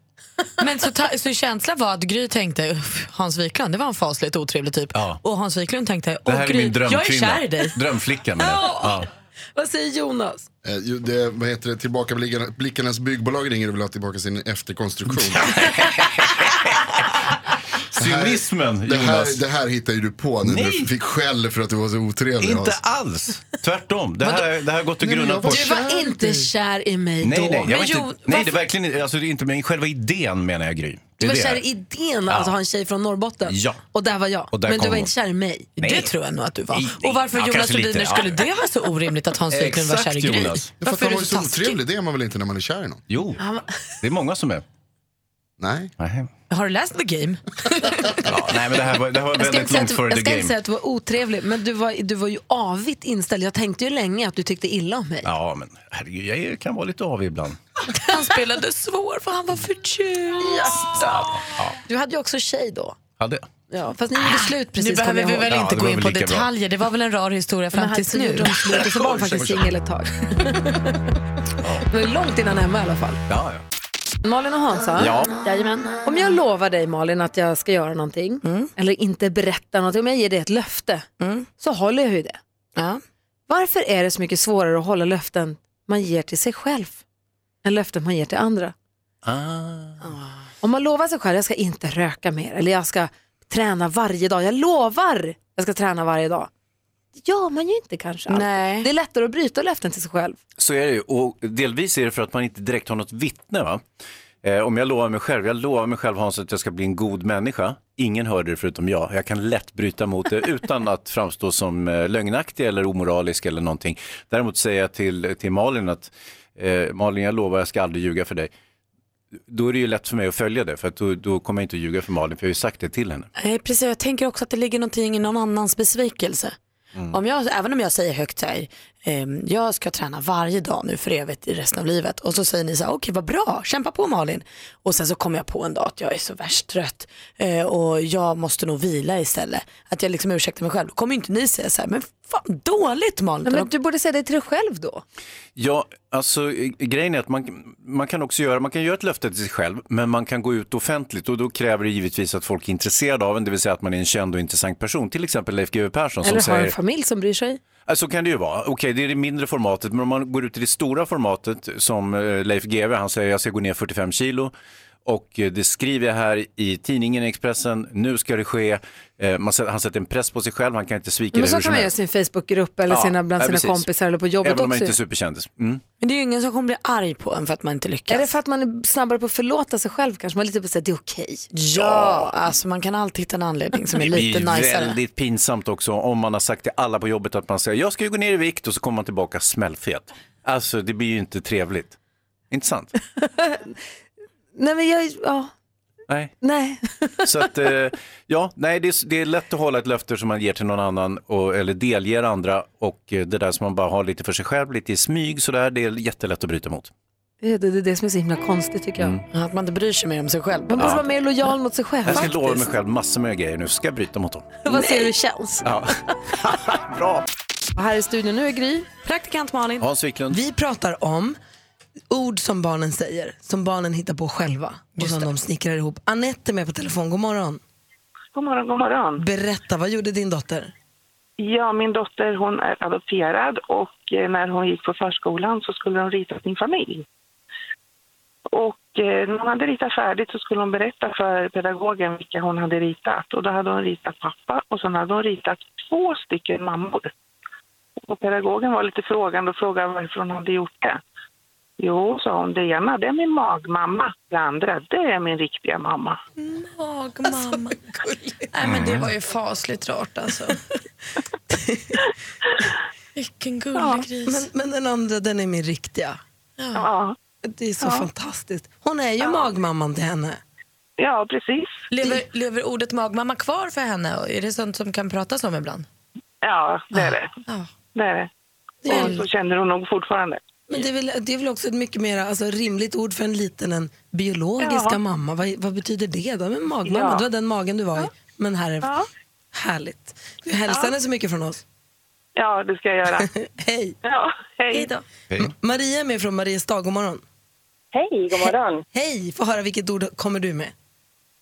Speaker 2: Men så, ta- så känslan var att Gry tänkte "Uff, Hans Wiklund, det var en fasligt otrevlig typ.
Speaker 3: Ja.
Speaker 2: Och Hans Wiklund tänkte,
Speaker 3: Det
Speaker 2: Åh,
Speaker 3: här är
Speaker 2: Gry,
Speaker 3: min drömkvinna.
Speaker 2: jag är kär i dig.
Speaker 3: Drömflicka menar jag. Ja.
Speaker 1: Vad säger Jonas?
Speaker 7: Eh, ju- Det, vad heter det, tillbakablickarnas byggbolag ringer och vill ha tillbaka sin efterkonstruktion.
Speaker 3: [laughs] Cynismen,
Speaker 7: det, här,
Speaker 3: Jonas.
Speaker 7: det här hittar ju du på nu när
Speaker 3: Nej.
Speaker 7: du fick skäll för att du var så otrevlig.
Speaker 3: Inte
Speaker 7: Hans.
Speaker 3: alls! Tvärtom. Det här, det här har gått och
Speaker 7: Nej, men
Speaker 3: grunnat
Speaker 7: jag
Speaker 3: på.
Speaker 7: var
Speaker 1: Du var
Speaker 7: Kär i
Speaker 1: inte
Speaker 7: dig.
Speaker 1: kär i mig då.
Speaker 3: Nej, nej, jag var
Speaker 2: Men
Speaker 3: inte,
Speaker 2: Jo,
Speaker 3: nej det
Speaker 2: varför-
Speaker 3: är verkligen inte- alltså, det är inte, men själva idén menar jag Gry. Det
Speaker 1: Du
Speaker 3: är
Speaker 1: var
Speaker 3: det.
Speaker 1: kär i idén att ha en tjej från Norrbotten.
Speaker 3: Ja.
Speaker 1: Och där var jag.
Speaker 3: Och där
Speaker 1: men du
Speaker 3: kom
Speaker 1: var
Speaker 3: hon.
Speaker 1: inte kär i mig.
Speaker 3: Nej.
Speaker 2: Det tror jag nog att du var.
Speaker 3: I- i-
Speaker 2: Och varför
Speaker 3: ja,
Speaker 2: Jonas
Speaker 3: kanske lite,
Speaker 2: Rhodiner
Speaker 3: ja.
Speaker 2: skulle det vara så orimligt att Hans Wiklund var kär i
Speaker 3: Exakt,
Speaker 2: Gry?
Speaker 3: Jonas.
Speaker 7: För att
Speaker 2: Varför
Speaker 7: han
Speaker 2: är
Speaker 7: var
Speaker 2: du
Speaker 7: ju
Speaker 2: så
Speaker 7: så
Speaker 2: taskig?
Speaker 7: otrevlig, det är man väl inte när man är kär i någon?
Speaker 3: Jo, det är många som är.
Speaker 7: Nej.
Speaker 3: Nej,
Speaker 2: Har du läst The Game?
Speaker 3: ja, nej men det här var, det här var
Speaker 1: Jag ska,
Speaker 3: väldigt
Speaker 1: inte säga,
Speaker 3: långt
Speaker 1: att,
Speaker 3: före
Speaker 1: jag
Speaker 3: the
Speaker 1: ska inte säga
Speaker 3: game.
Speaker 1: att du var otrevlig, men du var, du var ju avigt inställd. Jag tänkte ju länge att du tyckte illa om mig.
Speaker 3: Ja, men herregud, jag är- kan vara lite av ibland.
Speaker 2: Han spelade svår för han var förtjust.
Speaker 1: Du hade ju också tjej då.
Speaker 3: Hade jag.
Speaker 1: Ja, fast ni gjorde slut precis
Speaker 2: Nu behöver
Speaker 1: kommer
Speaker 2: vi
Speaker 1: jag
Speaker 2: väl
Speaker 1: ihåg.
Speaker 3: Ja,
Speaker 2: inte
Speaker 3: det
Speaker 2: gå
Speaker 3: var
Speaker 2: in
Speaker 3: väl
Speaker 2: på
Speaker 3: lika bra.
Speaker 2: detaljer. Det var väl en rar historia
Speaker 1: Men
Speaker 2: fram
Speaker 1: han
Speaker 2: tills
Speaker 1: så gjorde
Speaker 2: nu.
Speaker 1: de slut och så var hon faktiskt singel ett tag. Det var ju långt innan Emma i alla fall.
Speaker 3: Ja, ja.
Speaker 1: Malin och Hansa,
Speaker 3: Ja.
Speaker 1: Jajamän. om jag lovar dig Malin att jag ska göra någonting eller inte berätta någonting, om jag ger dig ett löfte så håller jag ju det.
Speaker 2: Ja.
Speaker 1: Varför är det så mycket svårare att hålla löften man ger till sig själv än löften man ger till andra?
Speaker 3: Ah.
Speaker 1: Om man lovar sig själv, jag ska inte röka mer eller jag ska träna varje dag, jag lovar jag ska träna varje dag. Det gör man ju inte kanske. alltid.
Speaker 2: Nej.
Speaker 1: Det är lättare att bryta löften till sig själv.
Speaker 3: Så är det ju, och delvis är det för att man inte direkt har något vittne. Va? Eh, om jag lovar mig själv, jag lovar mig själv Hans att jag ska bli en god människa. Ingen hörde det förutom jag. Jag kan lätt bryta mot det utan att framstå som eh, lögnaktig eller omoralisk eller någonting. Däremot säger jag till, till Malin att eh, Malin, jag lovar jag ska aldrig ljuga för dig. Då är det ju lätt för mig att följa det, för att då, då kommer jag inte att ljuga för Malin, för jag har ju sagt det till henne.
Speaker 2: Nej, precis. Jag tänker också att det ligger någonting i någon annans besvikelse. Om jag, även om jag säger högt så här, ehm, jag ska träna varje dag nu för evigt i resten av livet. Och så säger ni så här, okej vad bra, kämpa på Malin. Och sen så kommer jag på en dag att jag är så värst trött eh, och jag måste nog vila istället. Att jag liksom ursäktar mig själv. Då kommer ju inte ni säga så här, men fan dåligt Malin.
Speaker 1: Nej, men du borde säga det till dig själv då.
Speaker 3: Ja, alltså eh, grejen är att man, man kan också göra, man kan göra ett löfte till sig själv, men man kan gå ut offentligt och då kräver det givetvis att folk är intresserade av en, det vill säga att man är en känd och intressant person, till exempel Leif GW Persson som
Speaker 1: Eller ha en
Speaker 3: säger,
Speaker 1: familj som bryr sig.
Speaker 3: Ja, så kan det ju vara, okej det är det mindre formatet, men om man går ut i det stora formatet som eh, Leif GW, han säger jag ska gå ner 45 kilo och eh, det skriver jag här i tidningen Expressen, nu ska det ske, Eh, man, sätter- han sätter en press på sig själv, han kan inte svika
Speaker 1: Men
Speaker 3: det
Speaker 1: så kan
Speaker 3: hur som
Speaker 1: man göra i
Speaker 3: helst.
Speaker 1: sin Facebookgrupp eller sina, bland
Speaker 3: ja,
Speaker 1: sina
Speaker 3: precis.
Speaker 1: kompisar eller på jobbet
Speaker 3: Även om man
Speaker 1: också.
Speaker 3: inte är superkändis. Mm.
Speaker 2: Men det är ju ingen som kommer bli arg på en för att man inte lyckas.
Speaker 1: Är det för att man är snabbare på att förlåta sig själv kanske? Man är lite på att säga det är okej.
Speaker 2: Ja, alltså man kan alltid hitta en anledning som är lite
Speaker 3: Det blir
Speaker 2: najsare.
Speaker 3: väldigt pinsamt också om man har sagt till alla på jobbet att man säger jag ska ju gå ner i vikt och så kommer man tillbaka smällfet. Alltså det blir ju inte trevligt. Intressant.
Speaker 1: Nej men jag, ja,
Speaker 3: Nej,
Speaker 1: nej.
Speaker 3: så att eh, ja, nej det är, det är lätt att hålla ett löfte som man ger till någon annan och, eller delger andra och eh, det där som man bara har lite för sig själv, lite i smyg sådär, det är jättelätt att bryta mot.
Speaker 14: Det, det, det är det som är så himla konstigt tycker jag.
Speaker 2: Att man inte bryr sig mer om sig själv.
Speaker 14: Man borde
Speaker 15: Mm. Ja.
Speaker 14: vara mer lojal mot sig själv.
Speaker 15: Jag ska lova mig själv massor med grejer nu, så ska jag bryta mot dem.
Speaker 14: Vad säger du Kjells?
Speaker 2: [laughs]
Speaker 15: Ja. Bra.
Speaker 14: Och här i studion nu är Gry.
Speaker 1: Praktikant Malin.
Speaker 15: Hans Wiklund.
Speaker 1: Vi pratar om ord som barnen säger, som barnen hittar på själva och som de snickrar ihop. Anette är med på telefon. God morgon.
Speaker 16: God morgon, god morgon.
Speaker 1: Berätta, vad gjorde din dotter?
Speaker 16: Ja, min dotter hon är adopterad och eh, när hon gick på förskolan så skulle hon rita sin familj. Och eh, när hon hade ritat färdigt så skulle hon berätta för pedagogen vilka hon hade ritat. Och då hade hon ritat pappa och sen hade hon ritat två stycken mammor. Och pedagogen var lite frågande och frågade varför hon hade gjort det. Jo, sa hon, det ena det är min magmamma, det andra det är min riktiga mamma.
Speaker 5: Alltså,
Speaker 2: Magmamma. Nej men det var ju fasligt rart alltså. Vilken gullig
Speaker 1: men,
Speaker 2: gris.
Speaker 1: men den andra, den är min riktiga.
Speaker 16: Ja.
Speaker 1: Det är så
Speaker 16: Ja.
Speaker 1: fantastiskt. Hon är ju magmamman till henne.
Speaker 16: Ja, precis.
Speaker 2: Lever, lever ordet magmamma kvar för henne? Och Är det sånt som kan pratas om ibland?
Speaker 16: Ja, det är det.
Speaker 2: Ja.
Speaker 16: Det är det. Och så känner hon nog fortfarande.
Speaker 1: Men det är, väl, det är väl också ett mycket mer alltså, rimligt ord för en liten än biologiska
Speaker 16: Ja.
Speaker 1: mamma. Vad, vad betyder det då? Men magmamma,
Speaker 16: Ja.
Speaker 1: det var den magen du var i. Men här är
Speaker 16: Ja.
Speaker 1: härligt. Du hälsar
Speaker 16: Ja.
Speaker 1: henne så mycket från oss.
Speaker 16: Ja, det ska jag göra.
Speaker 1: [laughs] Hej!
Speaker 16: Ja, hej.
Speaker 1: Hej då. M- Maria är med från Mariestad. God morgon.
Speaker 5: Hej, god morgon.
Speaker 1: Hej! Få höra vilket ord kommer du med?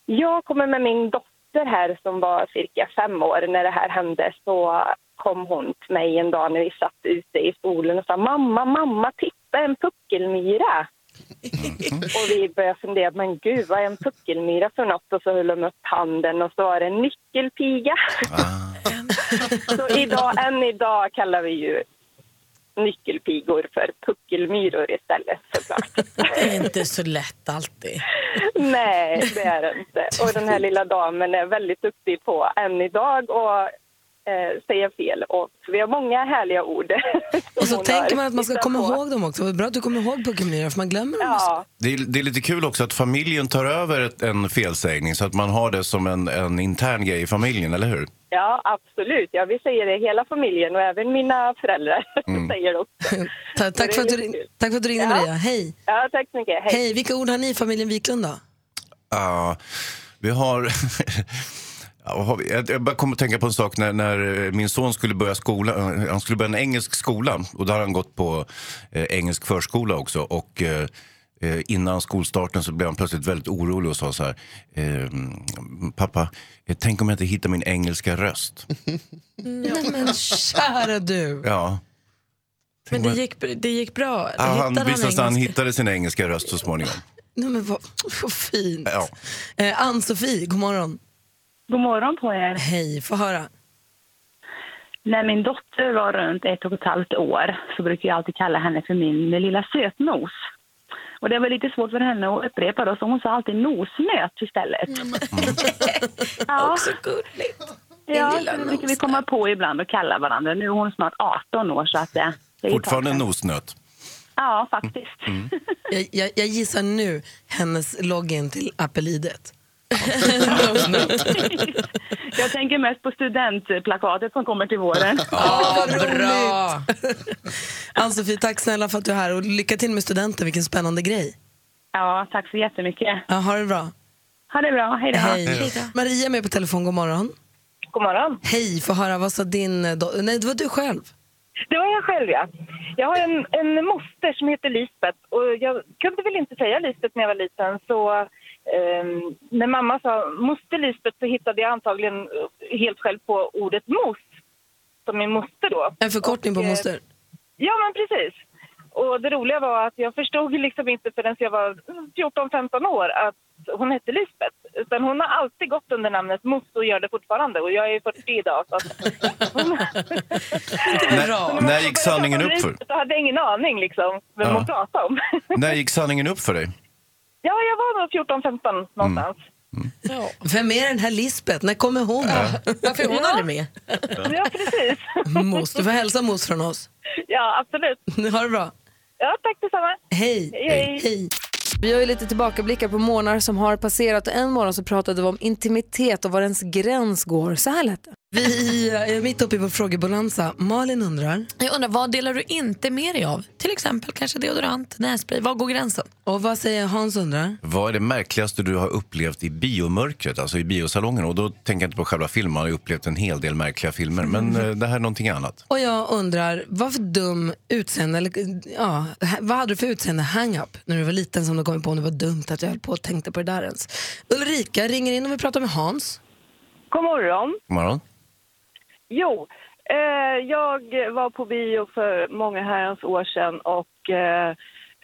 Speaker 5: Jag kommer med min dotter här som var cirka fem år när det här hände. Så kom hon till mig en dag när vi satt ute i solen och sa mamma, mamma, titta en puckelmyra. och vi började fundera, men gud vad är en puckelmyra för något? Och så höll de upp handen och så var det en nyckelpiga. så idag, än idag kallar vi ju nyckelpigor för puckelmyror istället såklart.
Speaker 2: Det är inte så lätt alltid.
Speaker 5: Nej, det är det
Speaker 1: [laughs]
Speaker 5: inte. Och den här
Speaker 2: [laughs]
Speaker 5: lilla damen är väldigt duktig på än idag och eh, säga fel. Och vi har många härliga ord. [laughs]
Speaker 1: Och så
Speaker 5: hon
Speaker 1: tänker
Speaker 5: har
Speaker 1: man att man ska
Speaker 5: hittat
Speaker 1: komma
Speaker 5: på.
Speaker 1: ihåg dem också. Vad bra att du kommer ihåg puckelmyror, för man glömmer dem.
Speaker 5: Ja,
Speaker 3: Det är, det är lite kul också att familjen tar över ett, en felsägning så att man har det som en, en intern grej i familjen, eller hur?
Speaker 5: ja, absolut. Ja, vi säger det hela familjen och även mina föräldrar [laughs] säger det också.
Speaker 1: Mm. [laughs] Ta, tack, för att du,
Speaker 5: Det är
Speaker 1: ring-
Speaker 5: kul.
Speaker 1: tack för att du ringde,
Speaker 5: Ja.
Speaker 1: Maria. Hej.
Speaker 5: Ja, tack så mycket. Hej.
Speaker 1: Hej! Vilka ord har ni i familjen Wiklund då?
Speaker 3: Ja, vi har... [laughs] Ja, vad har vi? Jag- Jag bara kom att tänka på en sak när, när eh, min son skulle börja skola. eh, Han skulle börja en engelsk skola och då hade han gått på eh, engelsk förskola också. Och eh, eh, innan skolstarten så blev han plötsligt väldigt orolig och sa så här. ehm, pappa, eh, tänk om jag inte hittar min engelska röst.
Speaker 1: Nej men kära du!
Speaker 3: Ja.
Speaker 2: Men det gick, det gick bra?
Speaker 3: Ja, Ah, han
Speaker 2: Hittade
Speaker 3: visste att han
Speaker 2: engelska?
Speaker 3: hittade sin engelska röst så småningom.
Speaker 1: Nej, men vad, vad fint.
Speaker 3: Ja.
Speaker 1: Eh, Ann-Sofie, god morgon.
Speaker 17: God morgon på er.
Speaker 1: Hej, få höra.
Speaker 17: När min dotter var runt ett och ett halvt år så brukar jag alltid kalla henne för min lilla sötnos. Och det var lite svårt för henne att upprepa då, så hon sa alltid nosnöt istället. ja. Också
Speaker 2: gulligt.
Speaker 17: Ja, så det brukar vi komma på ibland och kalla varandra. Nu är hon snart 18 år så att det... det är ju
Speaker 3: Fortfarande en nosnöt.
Speaker 17: tack. Ja, faktiskt.
Speaker 3: Mm.
Speaker 1: Jag, jag, jag gissar nu hennes login till Appelidet.
Speaker 17: jag tänker mest på studentplakatet som kommer till
Speaker 1: [laughs]
Speaker 17: våren.
Speaker 1: Åh, vad roligt! Ann-Sofie, tack snälla för att du är här och lycka till med studenten, vilken spännande grej.
Speaker 17: Ja, tack så jättemycket.
Speaker 1: Ja, ha det bra.
Speaker 17: Ha det bra, hej då.
Speaker 1: Hej. Maria är med på telefon, god morgon.
Speaker 5: God morgon.
Speaker 1: Hej, få höra, vad sa din... eh, do- Nej, det var du själv.
Speaker 5: Det var jag själv, ja. Jag har en, en moster som heter Lisbeth. Och jag kunde väl inte säga Lisbeth när jag var liten. Så ehm, när mamma sa moster Lisbeth så hittade jag antagligen eh, helt själv på ordet mos. Som min moster då.
Speaker 1: En förkortning på
Speaker 5: Och, eh,
Speaker 1: moster.
Speaker 5: Ja, men precis. Och det roliga var att jag förstod liksom inte förrän jag var 14-15 år att hon hette Lisbeth. Utan hon har alltid gått under namnet Mos och gör det fortfarande. Och jag är 40 idag. Så att
Speaker 3: När, när gick sanningen upp
Speaker 5: [laughs]
Speaker 3: för?
Speaker 5: Jag hade ingen aning liksom vem
Speaker 3: Ja.
Speaker 5: hon pratade om. [laughs]
Speaker 3: När gick sanningen upp för dig?
Speaker 5: ja, jag var nog 14-15 någonstans.
Speaker 1: Vem är den här Lisbeth? När kommer hon?
Speaker 2: Varför är hon aldrig med?
Speaker 5: Ja, precis.
Speaker 1: Mos, du får hälsa Mos från oss.
Speaker 5: Ja, absolut.
Speaker 1: Ha det bra.
Speaker 5: Ja, tack detsamma.
Speaker 1: Hej.
Speaker 5: Hej.
Speaker 14: Vi har ju lite tillbakablickar på månader som har passerat och en morgon så pratade vi om intimitet och var ens gräns går. Så här lät det.
Speaker 1: Vi är mitt uppe i vår frågebalansa. Malin undrar.
Speaker 18: Jag undrar, vad delar du inte med dig av? Till exempel kanske deodorant, nässpray. Var går gränsen?
Speaker 1: Och vad säger Hans undrar?
Speaker 3: Vad är det märkligaste du har upplevt i biomörkret, alltså i biosalongen? Och då tänker jag inte på själva filmen, jag har ju upplevt en hel del märkliga filmer. Men eh, det här är någonting annat.
Speaker 1: Och jag undrar, vad för dum utseende, eller ja, ha- vad hade du för utseende hang-up när du var liten som du kom på? Det var dumt att jag höll på och tänkte på det där ens. Ulrika ringer in och vill prata med Hans.
Speaker 5: God morgon.
Speaker 3: God morgon.
Speaker 5: Jo, eh, jag var på bio för många herrans år sedan och eh,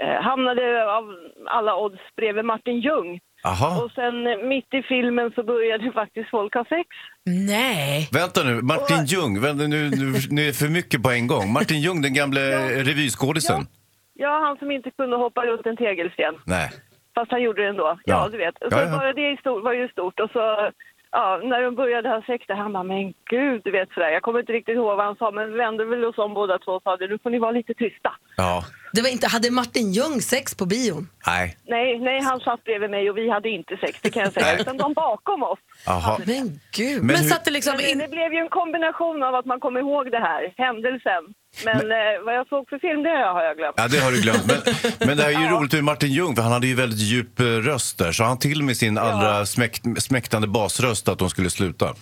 Speaker 5: eh, hamnade av alla odds bredvid Martin Ljung.
Speaker 3: Aha.
Speaker 5: Och sen eh, mitt i filmen så började [laughs] faktiskt folk ha sex.
Speaker 18: Nej.
Speaker 3: Vänta nu, Martin Ljung. Vänta, nu, nu, nu är det för mycket på en gång. Martin Ljung, den gamle revyskådisen.
Speaker 5: Ja, han som inte kunde hoppa runt en tegelsten.
Speaker 3: Nej.
Speaker 5: Fast han gjorde det ändå. Ja,
Speaker 3: Ja.
Speaker 5: du vet. Så
Speaker 3: Ja, ja.
Speaker 5: Bara det i stort, var ju stort. Och så, ja, när de började ha sex där, han bara, men gud, du vet sådär. Jag kommer inte riktigt ihåg vad han sa, men vi vände väl oss om båda två och sa det. Nu får ni vara lite tysta.
Speaker 3: Ja.
Speaker 1: Det var inte, hade Martin Ljung sex på bion?
Speaker 3: Nej.
Speaker 5: Nej, nej, han satt bredvid mig och vi hade inte sex, det kan jag säga.
Speaker 3: Nej.
Speaker 5: Utan de bakom oss.
Speaker 3: Aha.
Speaker 1: Men gud.
Speaker 3: Men hur-
Speaker 5: Men det, det blev ju en kombination av att man kom ihåg det här, händelsen. Men, eh, vad jag såg för film, det har jag glömt.
Speaker 3: Ja, det har du
Speaker 19: [laughs]
Speaker 3: glömt. Men, men det här är ju roligt med Martin Ljung, för han hade ju väldigt djup eh, röst där. Så han till med sin allra smäkt, smäktande basröst att de skulle sluta.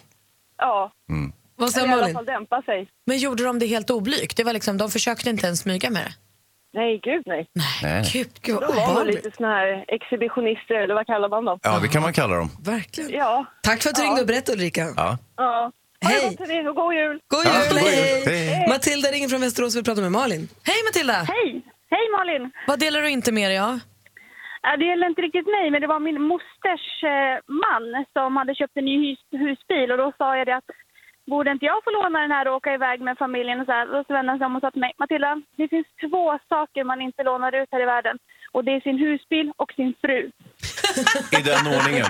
Speaker 5: Ja.
Speaker 3: Mm.
Speaker 18: Vad sa
Speaker 5: Eller I
Speaker 18: Malin?
Speaker 5: alla fall dämpa sig.
Speaker 18: Men gjorde de det helt oblygt? Det var liksom, de försökte inte ens smyga med det.
Speaker 5: Nej, gud nej.
Speaker 3: Nej.
Speaker 18: Gud,
Speaker 5: De
Speaker 18: gud vad
Speaker 5: var nog
Speaker 18: obehagligt.
Speaker 5: lite såna här exhibitionister, eller vad kallar man dem?
Speaker 3: Ja, det kan man kalla dem.
Speaker 1: Verkligen.
Speaker 5: Ja.
Speaker 1: Tack för att du ringde och berättade Ulrika.
Speaker 3: Ja.
Speaker 5: Ja. Hej! God jul!
Speaker 1: God
Speaker 3: Ja,
Speaker 1: jul,
Speaker 3: god jul.
Speaker 1: hej.
Speaker 3: Hej.
Speaker 1: Matilda ringer från Västerås och vill prata med
Speaker 2: [laughs]
Speaker 1: Malin.
Speaker 18: Hej Matilda!
Speaker 17: Hej! Hej Malin!
Speaker 18: Vad delar du inte med dig av?
Speaker 17: Ja, Det gäller inte riktigt mig, men det var min mosters eh, man som hade köpt en ny hus, husbil och då sa jag det att borde inte jag få låna den här och åka iväg med familjen och så här. Då så vände han sig om och sa till mig, Matilda, det finns två saker man inte lånar ut här i världen och det är sin husbil och sin fru.
Speaker 3: I den ordningen.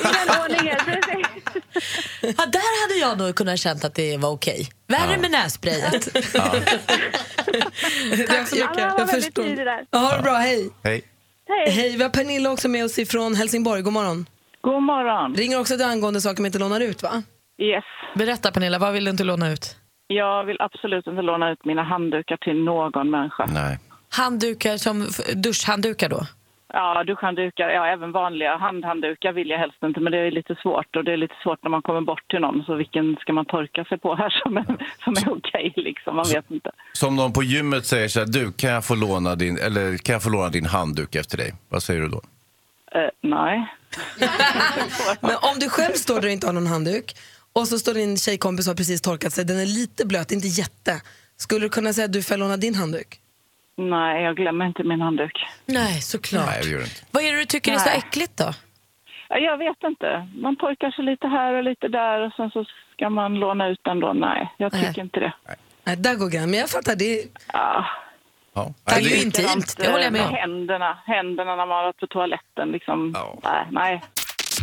Speaker 17: I den ordningen, precis.
Speaker 18: Ja, där hade jag nog kunnat känna att det var okej. Värre med nässprayet.
Speaker 1: Tack så mycket.
Speaker 17: var väldigt tidig där.
Speaker 1: Ja, Ha det bra, hej.
Speaker 3: Hej.
Speaker 17: Hej.
Speaker 1: Vi har Pernilla också med oss ifrån Helsingborg. God morgon.
Speaker 20: God morgon.
Speaker 1: Ringer också det angående saker man inte lånar ut, va?
Speaker 20: Yes.
Speaker 18: Berätta Pernilla, vad vill du inte låna ut?
Speaker 20: Jag vill absolut inte låna ut mina handdukar till någon människa.
Speaker 3: Nej.
Speaker 18: Handdukar som f- duschhanddukar då?
Speaker 20: Ja, duschhanddukar, ja även vanliga handhanddukar vill jag helst inte, men det är lite svårt och det är lite svårt när man kommer bort till någon, så vilken ska man torka sig på här som är, [laughs] som är okej liksom, man vet inte.
Speaker 3: Som någon på gymmet säger så här, du kan jag få låna din, eller, kan jag få låna din handduk efter dig? Vad säger du då?
Speaker 20: Eh, nej.
Speaker 1: [laughs] Men om du själv står där och inte har någon handduk och så står din tjejkompis och har precis torkat sig, den är lite blöt, inte jätte. Skulle du kunna säga att du får låna din handduk?
Speaker 20: Nej, jag glömmer inte min handduk.
Speaker 18: Nej, såklart.
Speaker 3: Nej, det gör du inte.
Speaker 18: Vad är det du tycker är så äckligt då?
Speaker 20: Ja, Jag vet inte. Man torkar sig lite här och lite där och sen så ska man låna ut den då. Nej, jag tycker inte det.
Speaker 1: Nej, där går gränsen. Men jag fattar, det är...
Speaker 20: Ja.
Speaker 3: Ja.
Speaker 20: Nej,
Speaker 1: Det är ju
Speaker 20: likadant,
Speaker 1: intimt, det håller jag med
Speaker 20: eh,
Speaker 1: om.
Speaker 20: med Händerna, händerna när man har varit på toaletten. Liksom. Nej, nej.